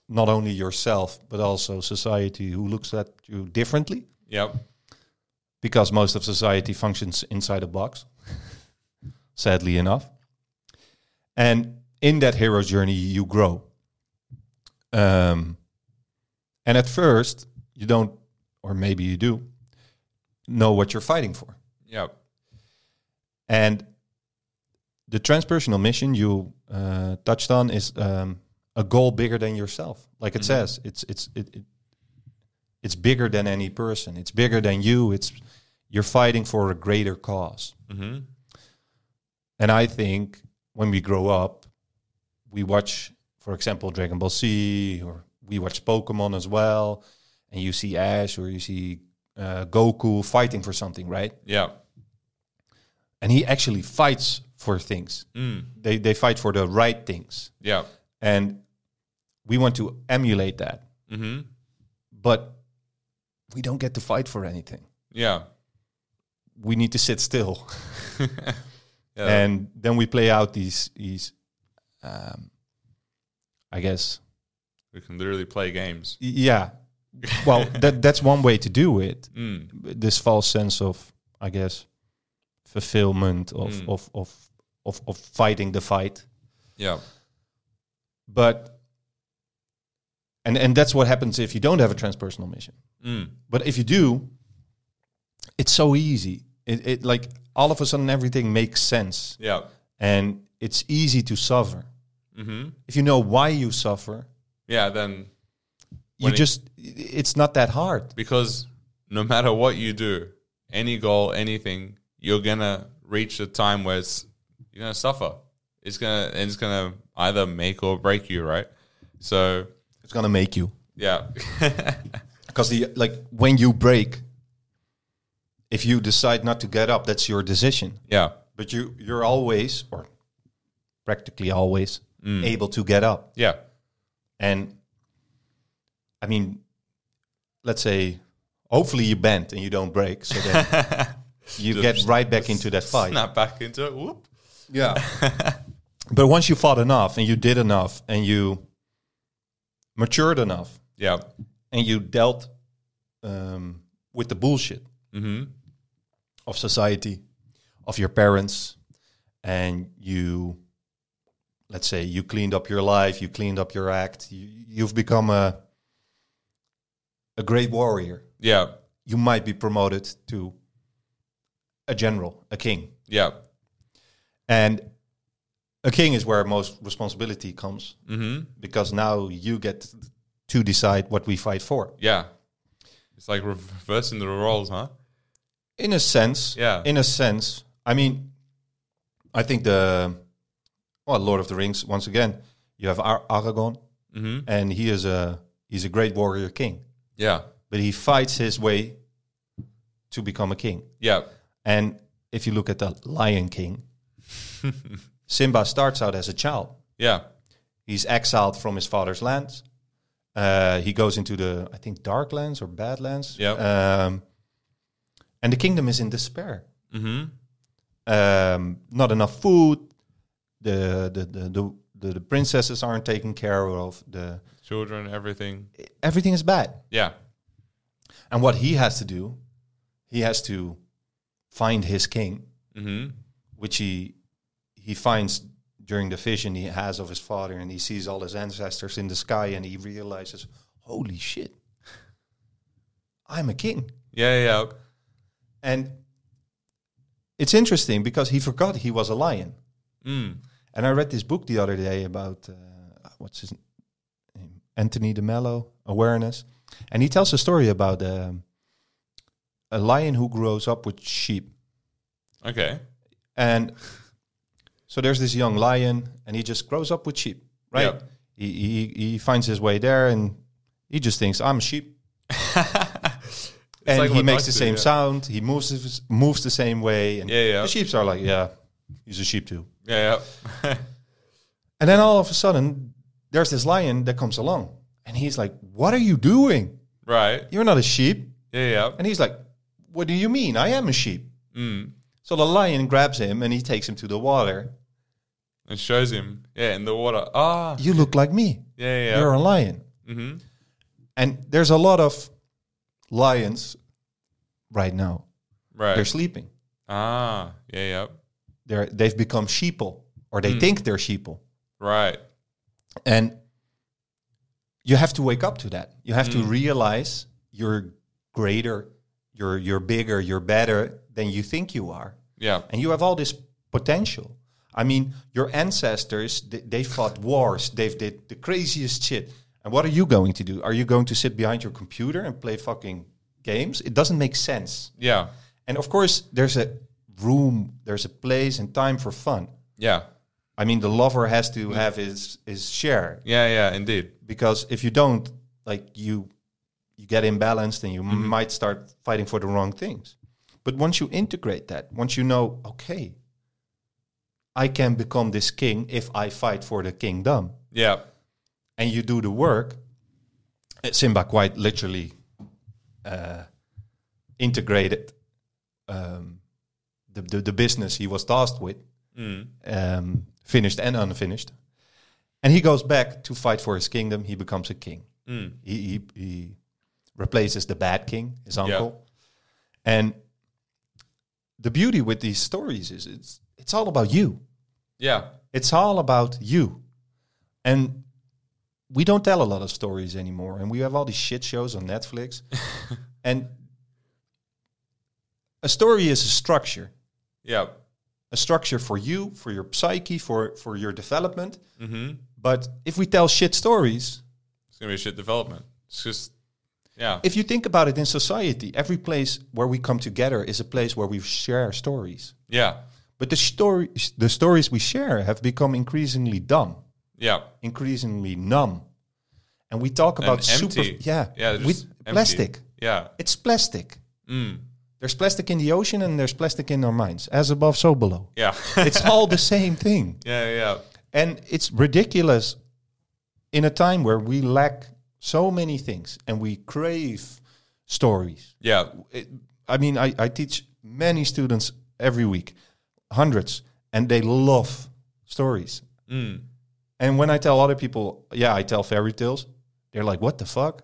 not only yourself but also society who looks at you differently Yep. because most of society functions inside a box, sadly enough. And in that hero's journey, you grow. Um, and at first, you don't, or maybe you do, know what you're fighting for. Yep. And the transpersonal mission you uh, touched on is um, a goal bigger than yourself. Like it says, it's it's it, it, it's bigger than any person. It's bigger than you. It's you're fighting for a greater cause. Mm-hmm. And I think when we grow up, we watch, for example, Dragon Ball Z, or we watch Pokemon as well, and you see Ash or you see uh, Goku fighting for something, right? Yep. And he actually fights for things. Mm. they they fight for the right things Yep. and we want to emulate that Mm-hmm. but we don't get to fight for anything Yeah. we need to sit still Yeah. and then we play out these these um i guess we can literally play games. y- yeah well that that's one way to do it Mm. this false sense of i guess fulfillment of Mm. of, of of of fighting the fight Yeah. but and and that's what happens if you don't have a transpersonal mission Mm. But if you do, it's so easy. It, it like all of a sudden everything makes sense Yeah. and it's easy to suffer. Mm-hmm. If you know why you suffer, Yeah. Then you When it- just it's not that hard. because no matter what you do, any goal, anything, you're gonna reach a time where it's you're gonna suffer. It's gonna and it's gonna either make or break you, right? So It's gonna make you yeah, because the like when you break, if you decide not to get up, that's your decision. yeah, But you you're always or practically always Mm. able to get up. yeah, And I mean, let's say, hopefully you bend and you don't break, so that you get right back into that fight. snap back into it. Whoop. Yeah. but once you fought enough and you did enough and you matured enough Yeah. and you dealt um, with the bullshit Mm-hmm. of society, of your parents, and you, let's say, you cleaned up your life, you cleaned up your act, you, you've become a a great warrior. Yeah. You might be promoted to a general, a king, Yeah. and a king is where most responsibility comes Mm-hmm. because now you get to decide what we fight for. Yeah. It's like reversing the roles, huh? In a sense, Yeah. In a sense, I mean, I think the well, Lord of the Rings. Once again, you have Ar- Aragorn, Mhm. and he is a he's a great warrior king, Yeah. but he fights his way to become a king. Yeah. And if you look at the Lion King, Simba starts out as a child. Yeah. He's exiled from his father's land. Uh, he goes into the, I think, Darklands or Badlands. Yep. Um, and the kingdom is in despair. hmm Um, not enough food. The the, the the the the princesses aren't taken care of. The Children, everything. everything is bad. Yeah. And what he has to do, he has to find his king, hmm which he he finds during the vision he has of his father, and he sees all his ancestors in the sky, and he realizes, holy shit, I'm a king. Yeah. Yeah. And it's interesting because he forgot he was a lion. Mm. And I read this book the other day about uh, what's his name, Anthony DeMello, awareness, and he tells a story about um, a lion who grows up with sheep, Okay. and so there's this young lion, and he just grows up with sheep, right? Yeah. He, he he finds his way there, and he just thinks I'm a sheep, and like he what makes dogs the do, same yeah. sound, he moves his- moves the same way, and Yeah, yeah. the sheeps are like, yeah, he's a sheep too. Yeah. Yeah. And then all of a sudden, there's this lion that comes along, and he's like, "What are you doing? right. You're not a sheep." Yeah. Yeah. And he's like, "What do you mean? I am a sheep." Mm. So the lion grabs him and he takes him to the water. And shows him. Yeah. In the water. Ah. You look like me. Yeah. Yeah. You're a lion. hmm And there's a lot of lions right now. Right. They're sleeping. ah. Yeah. Yeah. They're they've become sheeple, or Mm. they think they're sheeple. Right. And you have to wake up to that. You have Mm. to realize you're greater, you're you're bigger, you're better than you think you are. Yeah. And you have all this potential. I mean, your ancestors they, they fought wars, they've did the craziest shit. And what are you going to do? Are you going to sit behind your computer and play fucking games? It doesn't make sense. Yeah. And of course, there's a room, there's a place and time for fun. Yeah. I mean, the lover has to have his his share Yeah. Yeah. Indeed. because if you don't like you you get imbalanced and you might start fighting for the wrong things but once you integrate that once you know okay i can become this king if i fight for the kingdom Yeah. and you do the work uh, simba quite literally uh, integrated um, the, the, the business he was tasked with Mm. um, finished and unfinished. And he goes back to fight for his kingdom. He becomes a king. Mm. He, he, he replaces the bad king, his uncle. And the beauty with these stories is it's it's all about you. Yeah. It's all about you. And we don't tell a lot of stories anymore. And we have all these shit shows on Netflix. and a story is a structure Yeah. a structure for you, for your psyche, for for your development. hmm But if we tell shit stories, It's gonna be a shit development. It's just. Yeah. if you think about it in society, every place where we come together is a place where we share stories. yeah. But the stories the stories we share have become increasingly dumb, Yeah. increasingly numb. And we talk about super empty. yeah, Yeah, we- just empty. plastic. Yeah. It's plastic. Mm. There's plastic in the ocean and there's plastic in our minds, as above so below. Yeah. It's all the same thing. yeah. Yeah. And it's ridiculous in a time where we lack so many things and we crave stories. Yeah. It, I mean, I, I teach many students every week, hundreds, and they love stories. Mm. And when I tell other people, yeah, I tell fairy tales, they're like, what the fuck?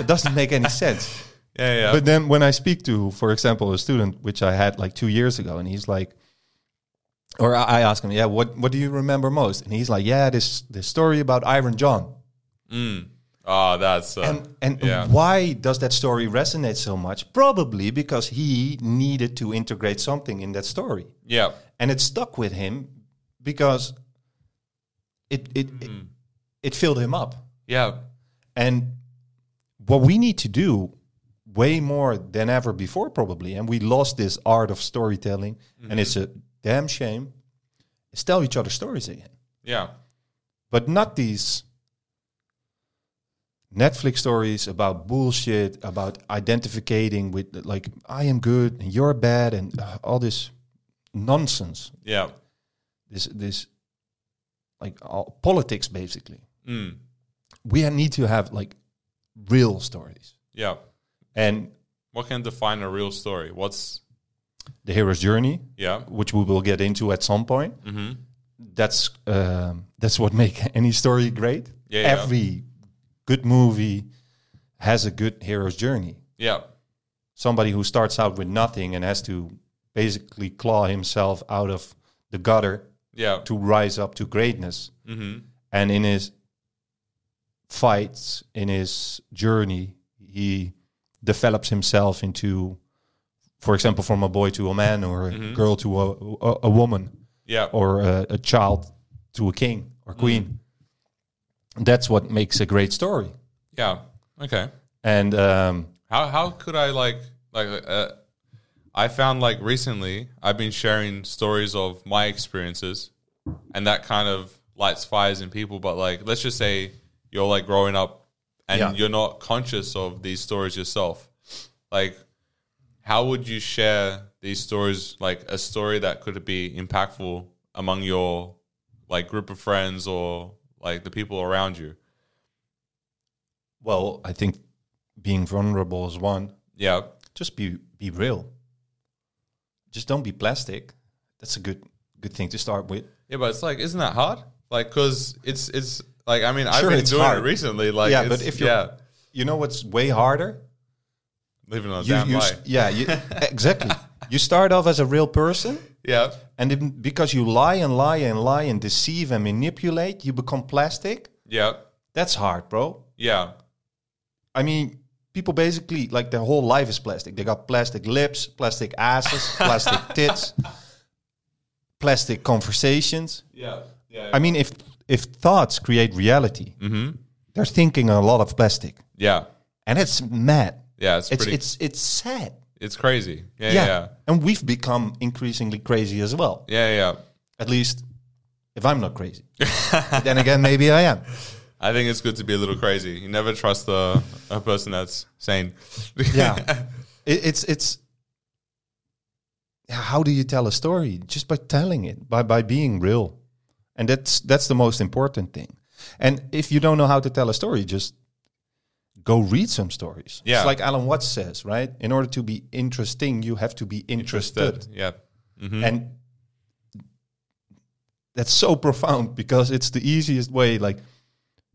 it doesn't make any sense. Yeah. Yeah. But then when I speak to, for example, a student, which I had like two years ago, and he's like, or I I ask him, yeah, what, what do you remember most? And he's like, yeah, this, this story about Iron John. Mm. Oh, that's. Uh, And, and yeah. why does that story resonate so much? Probably because he needed to integrate something in that story. yeah. And it stuck with him because it, it, it, it filled him up. Yeah. And what we need to do way more than ever before, probably. And we lost this art of storytelling, and it's a damn shame. Let's tell each other stories again, Yeah. but not these Netflix stories about bullshit, about identifying with like I am good and you're bad, and uh, all this nonsense. Yeah. This this like all politics basically. Mm. We ha- need to have like real stories, Yeah. and What can define a real story? What's the hero's journey yeah. which we will get into at some point. Mm-hmm. That's um, that's what make any story great. Yeah, yeah. Every good movie has a good hero's journey. Yeah. Somebody who starts out with nothing and has to basically claw himself out of the gutter Yeah. to rise up to greatness. Mm-hmm. And in his fights, in his journey, he develops himself into, for example, from a boy to a man or a Mm-hmm. girl to a, a, a woman Yeah. or a, a child to a king or queen. That's what makes a great story. Yeah. Okay. And um, How how could I like like uh, I found like recently I've been sharing stories of my experiences, and that kind of lights fires in people. But like, let's just say you're like growing up, and Yeah. you're not conscious of these stories yourself. Like, how would you share these stories? Like a story that could be impactful among your like group of friends or like the people around you. well, I think being vulnerable is one. Yeah. Just be be real. Just don't be plastic. That's a good good thing to start with. Yeah, but it's like, isn't that hard? Like, cause it's it's like, I mean, I've Sure, been it's doing hard. it recently. Like, Yeah, it's- but if you're- yeah, You know what's way harder? living on a You, damn you s- lie. yeah, you, exactly. You start off as a real person, yeah, and then because you lie and lie and lie and deceive and manipulate, you become plastic. yeah, That's hard, bro. yeah, I mean, people basically like their whole life is plastic. They got plastic lips, plastic asses, plastic tits, plastic conversations. yeah, yeah, I mean, if if thoughts create reality, Mm-hmm. they're thinking a lot of plastic, yeah, and it's mad. yeah. It's, It's pretty. It's, it's it's sad. crazy. Yeah, Yeah. yeah, yeah, and we've become increasingly crazy as well. yeah, yeah. At least, if I'm not crazy, But then again, maybe I am. I think it's good to be a little crazy. You never trust a, a person that's sane. Yeah, it, it's it's. Yeah, How do you tell a story? Just by telling it, by by being real, and that's that's the most important thing. And if you don't know how to tell a story, just go read some stories. Yeah. it's like Alan Watts says, right? In order to be interesting, you have to be interested, Interested. mm-hmm. Yeah, and that's so profound because it's the easiest way. Like,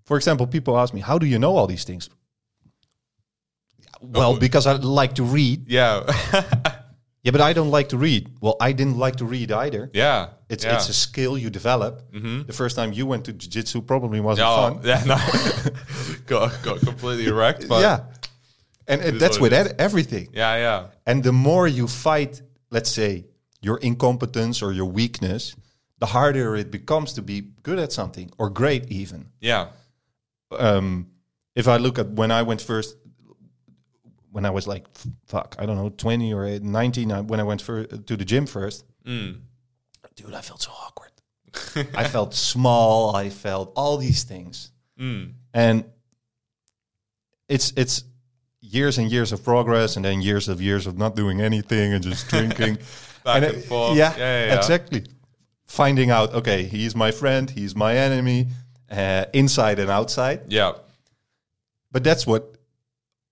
for example, people ask me, "How do you know all these things?" Well, Oh. because I like to read. yeah, Yeah, but I don't like to read. Well, I didn't like to read either. yeah. It's yeah. it's a skill you develop. The first time you went to jiu-jitsu probably wasn't oh, fun. yeah, no. got got completely wrecked, but yeah. And, and is that's what with it e- everything. yeah, yeah, And the more you fight, let's say, your incompetence or your weakness, the harder it becomes to be good at something or great even. yeah, um, if I look at when I went first, when I was like, f- fuck, I don't know, 20 or 19, I- when I went fir- to the gym first, Mm. dude, I felt so awkward. I felt small. I felt all these things. Mm. And it's, it's, years and years of progress and then years of years of not doing anything and just drinking Back And and it- forth. yeah, Yeah, yeah, yeah. exactly finding out okay he's my friend he's my enemy uh, inside and outside yeah, but that's what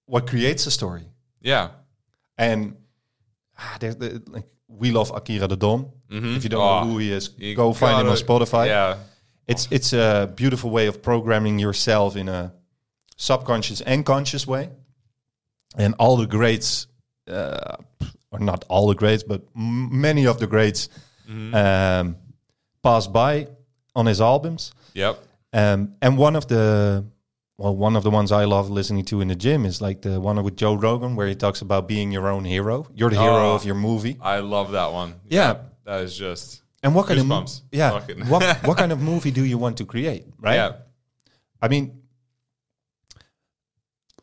what creates a story yeah. and ah, there's the, like, we love akira the don if you don't Ah, know who he is You go find him on gotta- spotify Yeah, it's it's a beautiful way of programming yourself in a subconscious and conscious way and all the greats uh, or not all the greats but m- many of the greats Mm-hmm. um, pass by on his albums yep. um, and one of the well, one of the ones I love listening to in the gym is like the one with Joe Rogan where he talks about being your own hero. You're the hero Oh. of your movie. I love that one. Yeah. That is just And what kind of mo- Goosebumps. yeah, Fucking- what what kind of movie do you want to create? Right. yeah. I mean,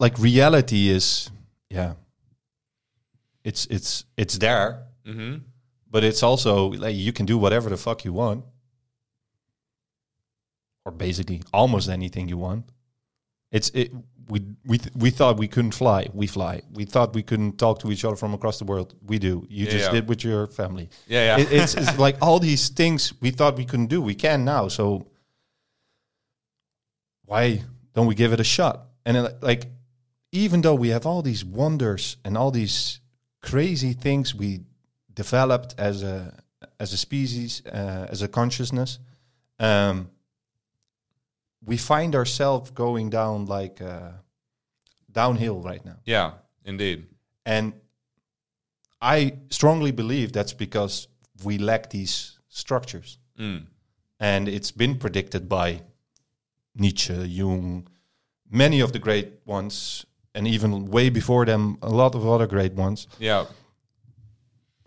like reality is yeah it's it's it's there, Mm-hmm. but it's also like you can do whatever the fuck you want, or basically almost anything you want. It's it. We we th- we thought we couldn't fly. We fly. We thought we couldn't talk to each other from across the world. We do. You Yeah, just yeah. did with your family. Yeah, yeah. It, it's, it's like all these things we thought we couldn't do, we can now. So why don't we give it a shot? And then, like, even though we have all these wonders and all these crazy things we developed as a as a species, uh, as a consciousness, um, we find ourselves going down like uh, downhill right now. yeah, indeed. And I strongly believe that's because we lack these structures. Mm. And it's been predicted by Nietzsche, Jung, many of the great ones, and even way before them, a lot of other great ones, Yeah,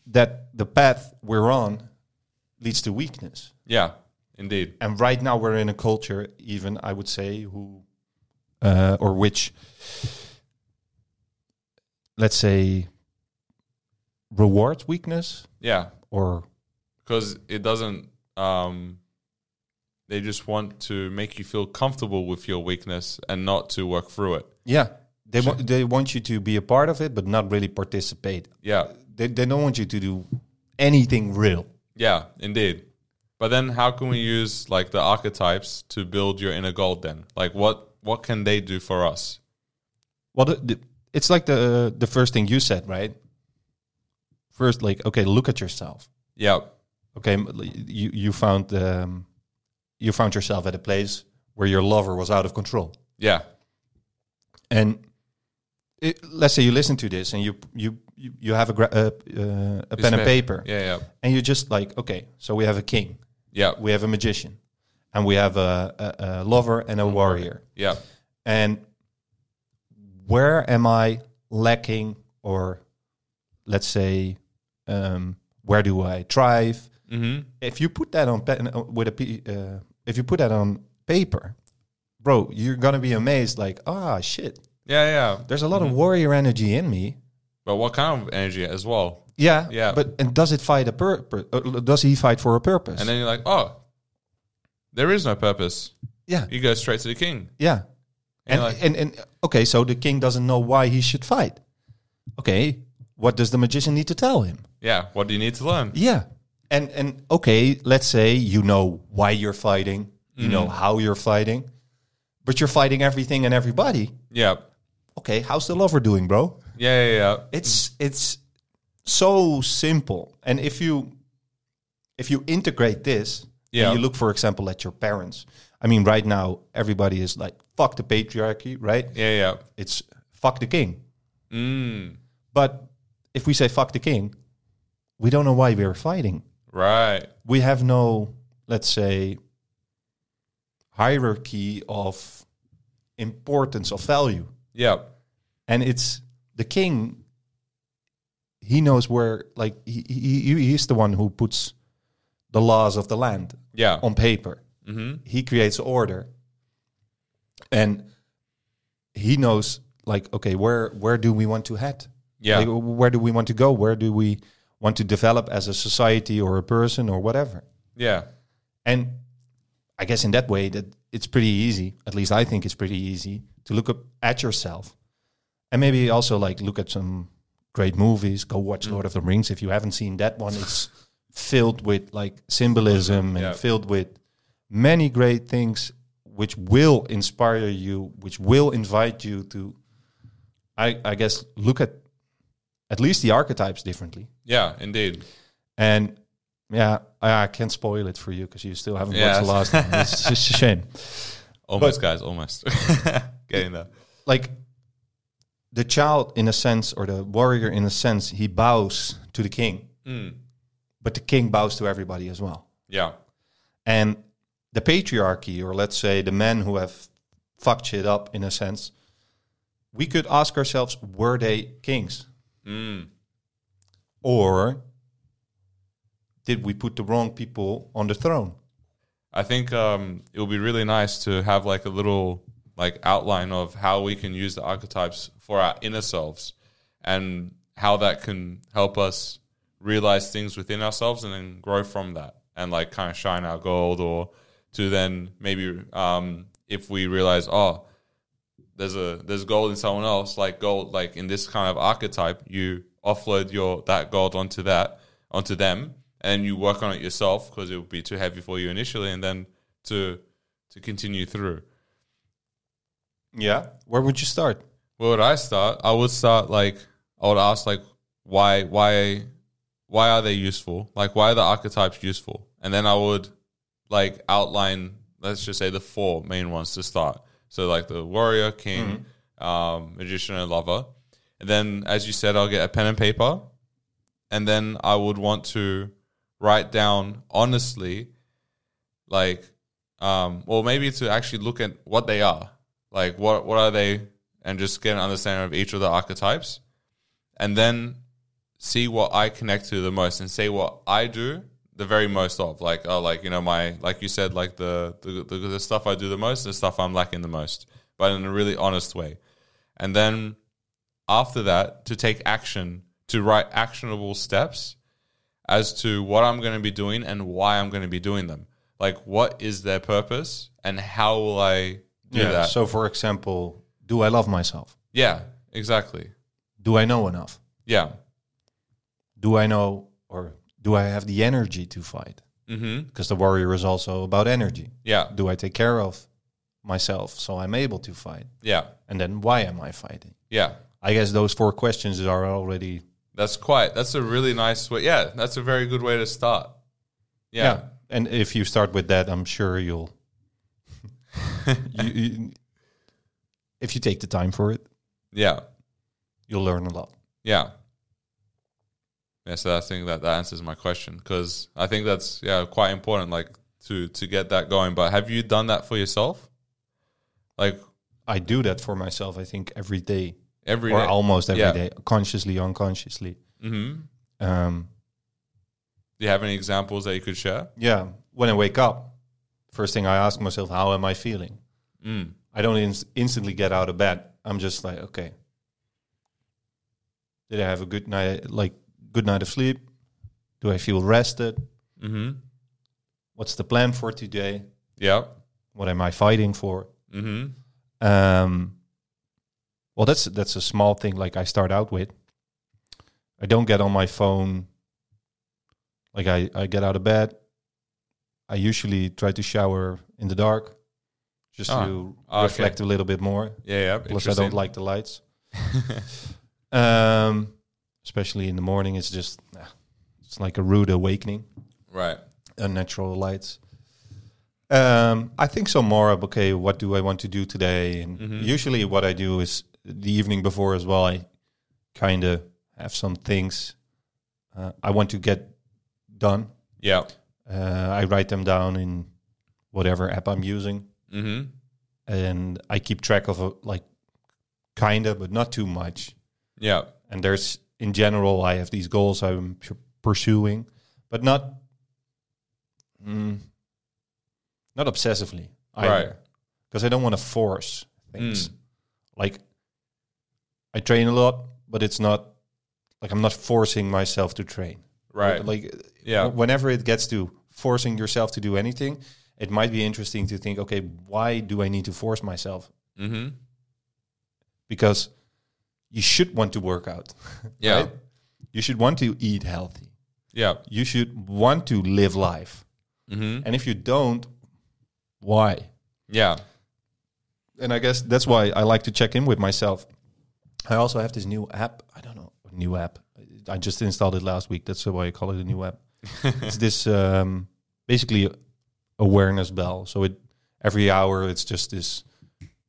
that the path we're on leads to weakness. yeah, indeed. And right now we're in a culture, even I would say, who uh, or which, let's say, rewards weakness Yeah, or because it doesn't. Um, they just want to make you feel comfortable with your weakness and not to work through it. yeah, they want they want you to be a part of it, but not really participate. Yeah, They they don't want you to do anything real. yeah, indeed. But then, how can we use like the archetypes to build your inner gold? Then, like, what what can they do for us? Well, the, the, it's like the the first thing you said, right? First, like okay, look at yourself. Yeah, Okay, m- l- you you found um, you found yourself at a place where your lover was out of control. yeah, and it, let's say you listen to this and you you you, you have a gra- uh, uh, a pen and paper Yeah, yeah, and you're just like okay so we have a king yeah, we have a magician and we have a, a, a lover and a warrior yeah, and where am i lacking or let's say um, where do i thrive mm-hmm. if you put that on pen uh, with a p- uh, if you put that on paper bro you're gonna be amazed like ah shit yeah, yeah. there's a lot of warrior energy in me. But what kind of energy as well? Yeah, Yeah. But and does it fight a purpose? Does he fight for a purpose? And then you're like, oh, there is no purpose. yeah, You go straight to the king. yeah. And, And like- and and okay, so the king doesn't know why he should fight. Okay, what does the magician need to tell him? Yeah. What do you need to learn? Yeah, and and okay, let's say you know why you're fighting, you know how you're fighting, but you're fighting everything and everybody. Yeah. Okay, how's the lover doing, bro? Yeah. Yeah. yeah. it's it's so simple and if you if you integrate this yeah Yeah. you look for example at your parents i mean right now everybody is like fuck the patriarchy right Yeah. it's fuck the king Yeah. Mm, but if we say fuck the king we don't know why we're fighting right. we have no let's say hierarchy of importance of value Yeah. and it's the king he knows where like he, he he- he's the one who puts the laws of the land Yeah. on paper Mm-hmm. he creates order and he knows like okay where where do we want to head Yeah. Like, where do we want to go where do we want to develop as a society or a person or whatever Yeah. and i guess in that way that it's pretty easy at least i think it's pretty easy to look up at yourself and maybe also like look at some great movies go watch lord of the rings if you haven't seen that one it's filled with like symbolism and Yeah. filled with many great things which will inspire you which will invite you to i i guess look at at least the archetypes differently Yeah. Indeed. and yeah, I, I can't spoil it for you because you still haven't Yeah. watched the last one. It's just a shame. Almost, guys. Almost. Getting there. Like the child, in a sense, or the warrior, in a sense, he bows to the king, Mm. but the king bows to everybody as well. Yeah. And the patriarchy, or let's say the men who have fucked shit up, in a sense, we could ask ourselves: Were they kings, Mm. or did we put the wrong people on the throne? I think um, it would be really nice to have like a little like outline of how we can use the archetypes for our inner selves and how that can help us realize things within ourselves and then grow from that and like kind of shine our gold or to then maybe um, if we realize oh there's a there's gold in someone else like gold like in this kind of archetype you offload your that gold onto that onto them and you work on it yourself because it would be too heavy for you initially and then to to continue through Yeah. Where would you start? where would I start? I would start like I would ask like why why why are they useful? Like why are the archetypes useful? And then I would like outline let's just say the four main ones to start. So like the warrior, king, um, magician, and lover. And then as you said, I'll get a pen and paper, and then I would want to write down honestly, like, um, or maybe to actually look at what they are, like what what are they, and just get an understanding of each of the archetypes, and then see what I connect to the most, and see what I do the very most of, like oh, like you know my like you said, like the the the, the stuff I do the most, the stuff I'm lacking the most, but in a really honest way, and then after that to take action to write actionable steps as to what I'm going to be doing and why I'm going to be doing them. Like, what is their purpose and how will I do that? So, for example, do I love myself? yeah, exactly. Do I know enough? Yeah. Do I know or do I have the energy to fight? hmm Because the warrior is also about energy. Yeah. Do I take care of myself so I'm able to fight? Yeah. And then why am I fighting? Yeah. I guess those four questions are already That's quite, that's a really nice way. Yeah. That's a very good way to start. Yeah. And if you start with that, I'm sure you'll. you, you, if you take the time for it, Yeah. you'll learn a lot. Yeah. Yeah, so I think that that answers my question because I think that's yeah quite important, like to to get that going. But have you done that for yourself? Like I do that for myself. I think every day, every or almost every Yeah. day, consciously, unconsciously. Mm-hmm. Um, Do you have any examples that you could share? yeah, when I wake up, first thing I ask myself, how am I feeling? Mm. I don't ins instantly get out of bed. I'm just like, okay, did I have a good night? Like good night of sleep? Do I feel rested? Mm-hmm. What's the plan for today? Yeah. What am I fighting for? Mm-hmm. Um, well, that's that's a small thing. Like I start out with, I don't get on my phone. Like I I get out of bed. I usually try to shower in the dark, just Ah, to ah, okay. reflect a little bit more. Yeah. Yeah. Plus, I don't Interesting. like the lights. um, especially in the morning, it's just ah, it's like a rude awakening right. unnatural uh, lights. Um, I think so more of okay, what do I want to do today? And Mhm. usually, what I do is the evening before as well. I kind of have some things uh, I want to get done. Yeah. Uh, I write them down in whatever app I'm using, Mm-hmm. and I keep track of uh, like kind of, but not too much. Yeah. And there's in general, I have these goals I'm p- pursuing, but not mm, not obsessively, Right. Because I don't want to force things. Mm. Like I train a lot, but it's not like I'm not forcing myself to train. Right. Like Yeah. whenever it gets to forcing yourself to do anything, it might be interesting to think, okay, why do I need to force myself? Mm-hmm. Because you should want to work out. Yeah. right? You should want to eat healthy. Yeah. You should want to live life. Mm-hmm. And if you don't, why? Yeah. And I guess that's why I like to check in with myself. I also have this new app. I don't know, new app. I just installed it last week. That's why I call it a new app. it's this um, basically awareness bell. So it every hour it's just this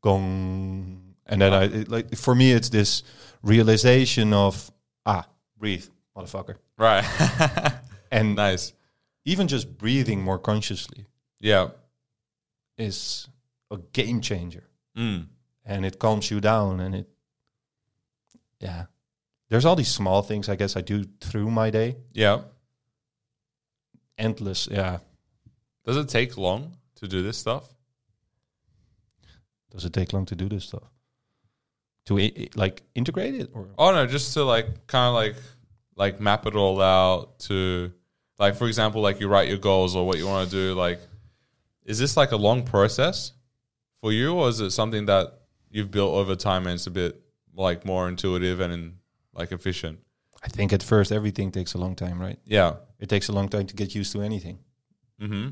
gong, and then I it, like for me it's this realization of ah breathe, motherfucker, Right. and nice. even just breathing more consciously Yeah. is a game changer Mm. and it calms you down and it yeah there's all these small things i guess i do through my day Yeah. endless yeah Does it take long to do this stuff? does it take long to do this stuff to i- i- like integrate it or Oh no, just to like kind of like like map it all out to like for example, like you write your goals or what you want to do. Like, is this like a long process for you, or is it something that you've built over time and it's a bit like more intuitive and in, like efficient? I think at first everything takes a long time, right? Yeah. It takes a long time to get used to anything. Mm-hmm.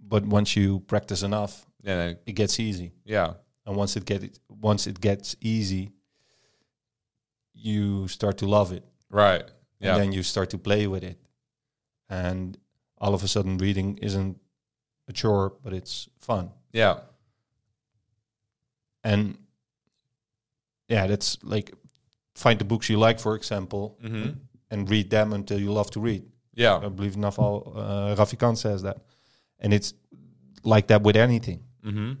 But once you practice enough, Yeah. it gets easy. Yeah. And once it get once it gets easy, you start to love it. Right. And Yeah. then you start to play with it. And all of a sudden reading isn't a chore, but it's fun. Yeah. And yeah, that's like find the books you like, for example, Mm-hmm. and read them until you love to read. Yeah. I believe Naval uh, Rafi Khan says that, and it's like that with anything. Mm-hmm.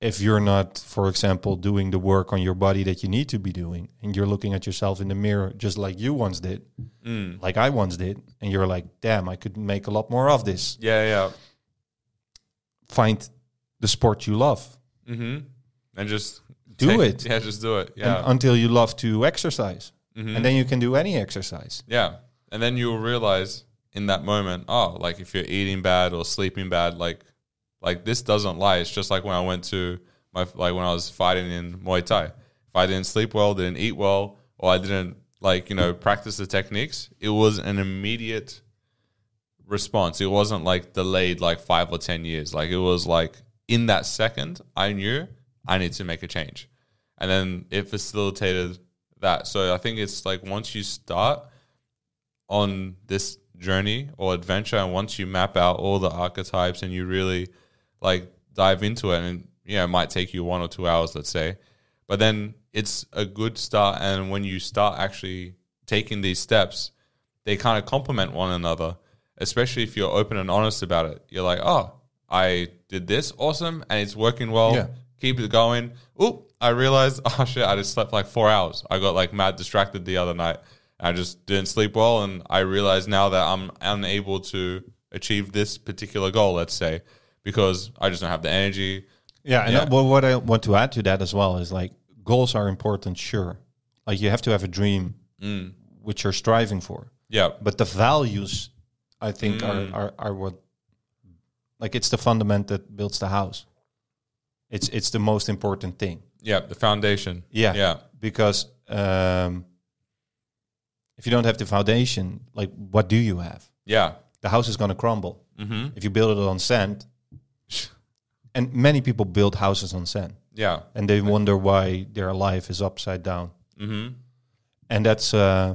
If you're not, for example, doing the work on your body that you need to be doing, and you're looking at yourself in the mirror just like you once did, Mm. like I once did, and you're like, "Damn, I could make a lot more of this." Yeah. Find the sport you love Yeah. Mm-hmm. And just Do take- it. Yeah. Just do it. and Yeah. until you love to exercise, Mhm. and then you can do any exercise. Yeah. And then you'll realize in that moment, oh, like if you're eating bad or sleeping bad, like like this doesn't lie. It's just like when I went to my like when I was fighting in Muay Thai. If I didn't sleep well, didn't eat well, or I didn't like, you know, practice the techniques, it was an immediate response. It wasn't like delayed like five or ten years. Like it was like in that second, I knew I need to make a change, and then it facilitated that. So I think it's like once you start on this journey or adventure, and once you map out all the archetypes and you really like dive into it, and you know, it might take you one or two hours, let's say, but then it's a good start. And when you start actually taking these steps, they kind of complement one another, especially if you're open and honest about it. You're like, oh, I did this, awesome, and it's working well. Yeah. Keep it going. Oop, I realized, oh shit, I just slept like four hours. I got like mad distracted the other night. I just didn't sleep well, and I realize now that I'm unable to achieve this particular goal, let's say, because I just don't have the energy. Yeah, and Yeah. uh, well, what I want to add to that as well is like goals are important, sure. Like you have to have a dream which you're striving for, Yeah. but the values, I think, are, are are what like it's the fundament that builds the house. It's it's the most important thing Yeah. The foundation. Yeah. Yeah. because um, if you don't have the foundation, like what do you have? Yeah. The house is going to crumble Mm-hmm. if you build it on sand. And many people build houses on sand Yeah. and they wonder why their life is upside down Mm-hmm. and that's uh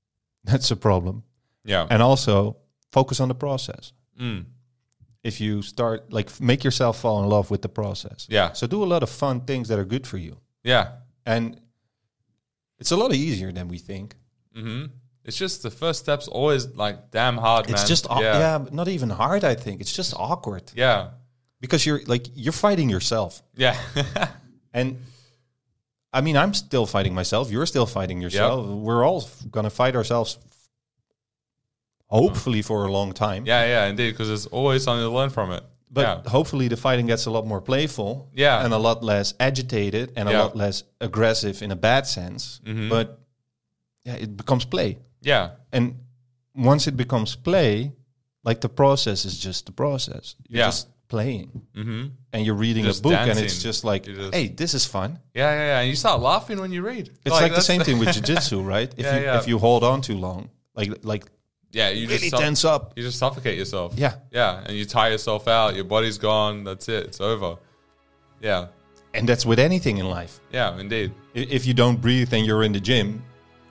that's a problem Yeah. and also focus on the process Mm. if you start like f- make yourself fall in love with the process Yeah. so do a lot of fun things that are good for you Yeah. and it's a lot easier than we think Mm-hmm. It's just the first step's always like damn hard, man. it's just au- yeah. yeah. but not even hard i think it's just awkward Yeah. because you're like you're fighting yourself Yeah. and i mean i'm still fighting myself you're still fighting yourself we're all f- gonna fight ourselves f- hopefully for a long time yeah. Yeah. Indeed, because there's always something to learn from it. But hopefully the fighting gets a lot more playful Yeah. and a lot less agitated and Yeah. Mm-hmm. a lot less aggressive in a bad sense. But yeah, it becomes play. yeah. And once it becomes play, like the process is just the process. You're Yeah. just playing. Yeah. Mm-hmm. And you're reading Just a book and dancing. it's just like, You just- hey, this is fun. Yeah. Yeah. Yeah. And you start laughing when you read. It's like, the that's- same thing with jiu-jitsu, right? If Yeah, you yeah. if you hold on too long, like like Yeah. You really just suff- tense up. you just suffocate yourself. Yeah. Yeah. And you tire yourself out. Your body's gone. That's it. It's over. Yeah. And that's with anything in life. Yeah. Indeed. I- If you don't breathe and you're in the gym,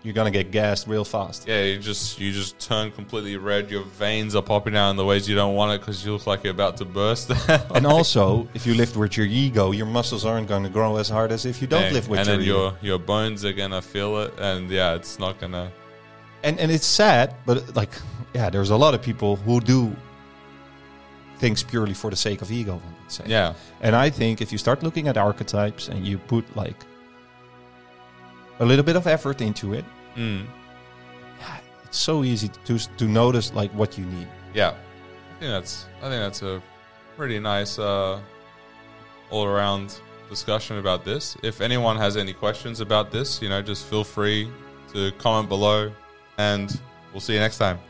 you're gonna get gassed real fast. Yeah, you just you just turn completely red. Your veins are popping out in the ways you don't want it because you look like you're about to burst. And also, if you lift with your ego, your muscles aren't going to grow as hard as if you don't and, lift with and your then ego. your your bones are gonna feel it, and yeah, it's not gonna. And and it's sad, but like, yeah, there's a lot of people who do things purely for the sake of ego. One would say. Yeah, And I think if you start looking at archetypes and you put like a little bit of effort into it, mm, it's so easy to to notice like what you need. yeah. I think that's I think that's a pretty nice uh, all around discussion about this. If anyone has any questions about this, you know, just feel free to comment below and we'll see you next time.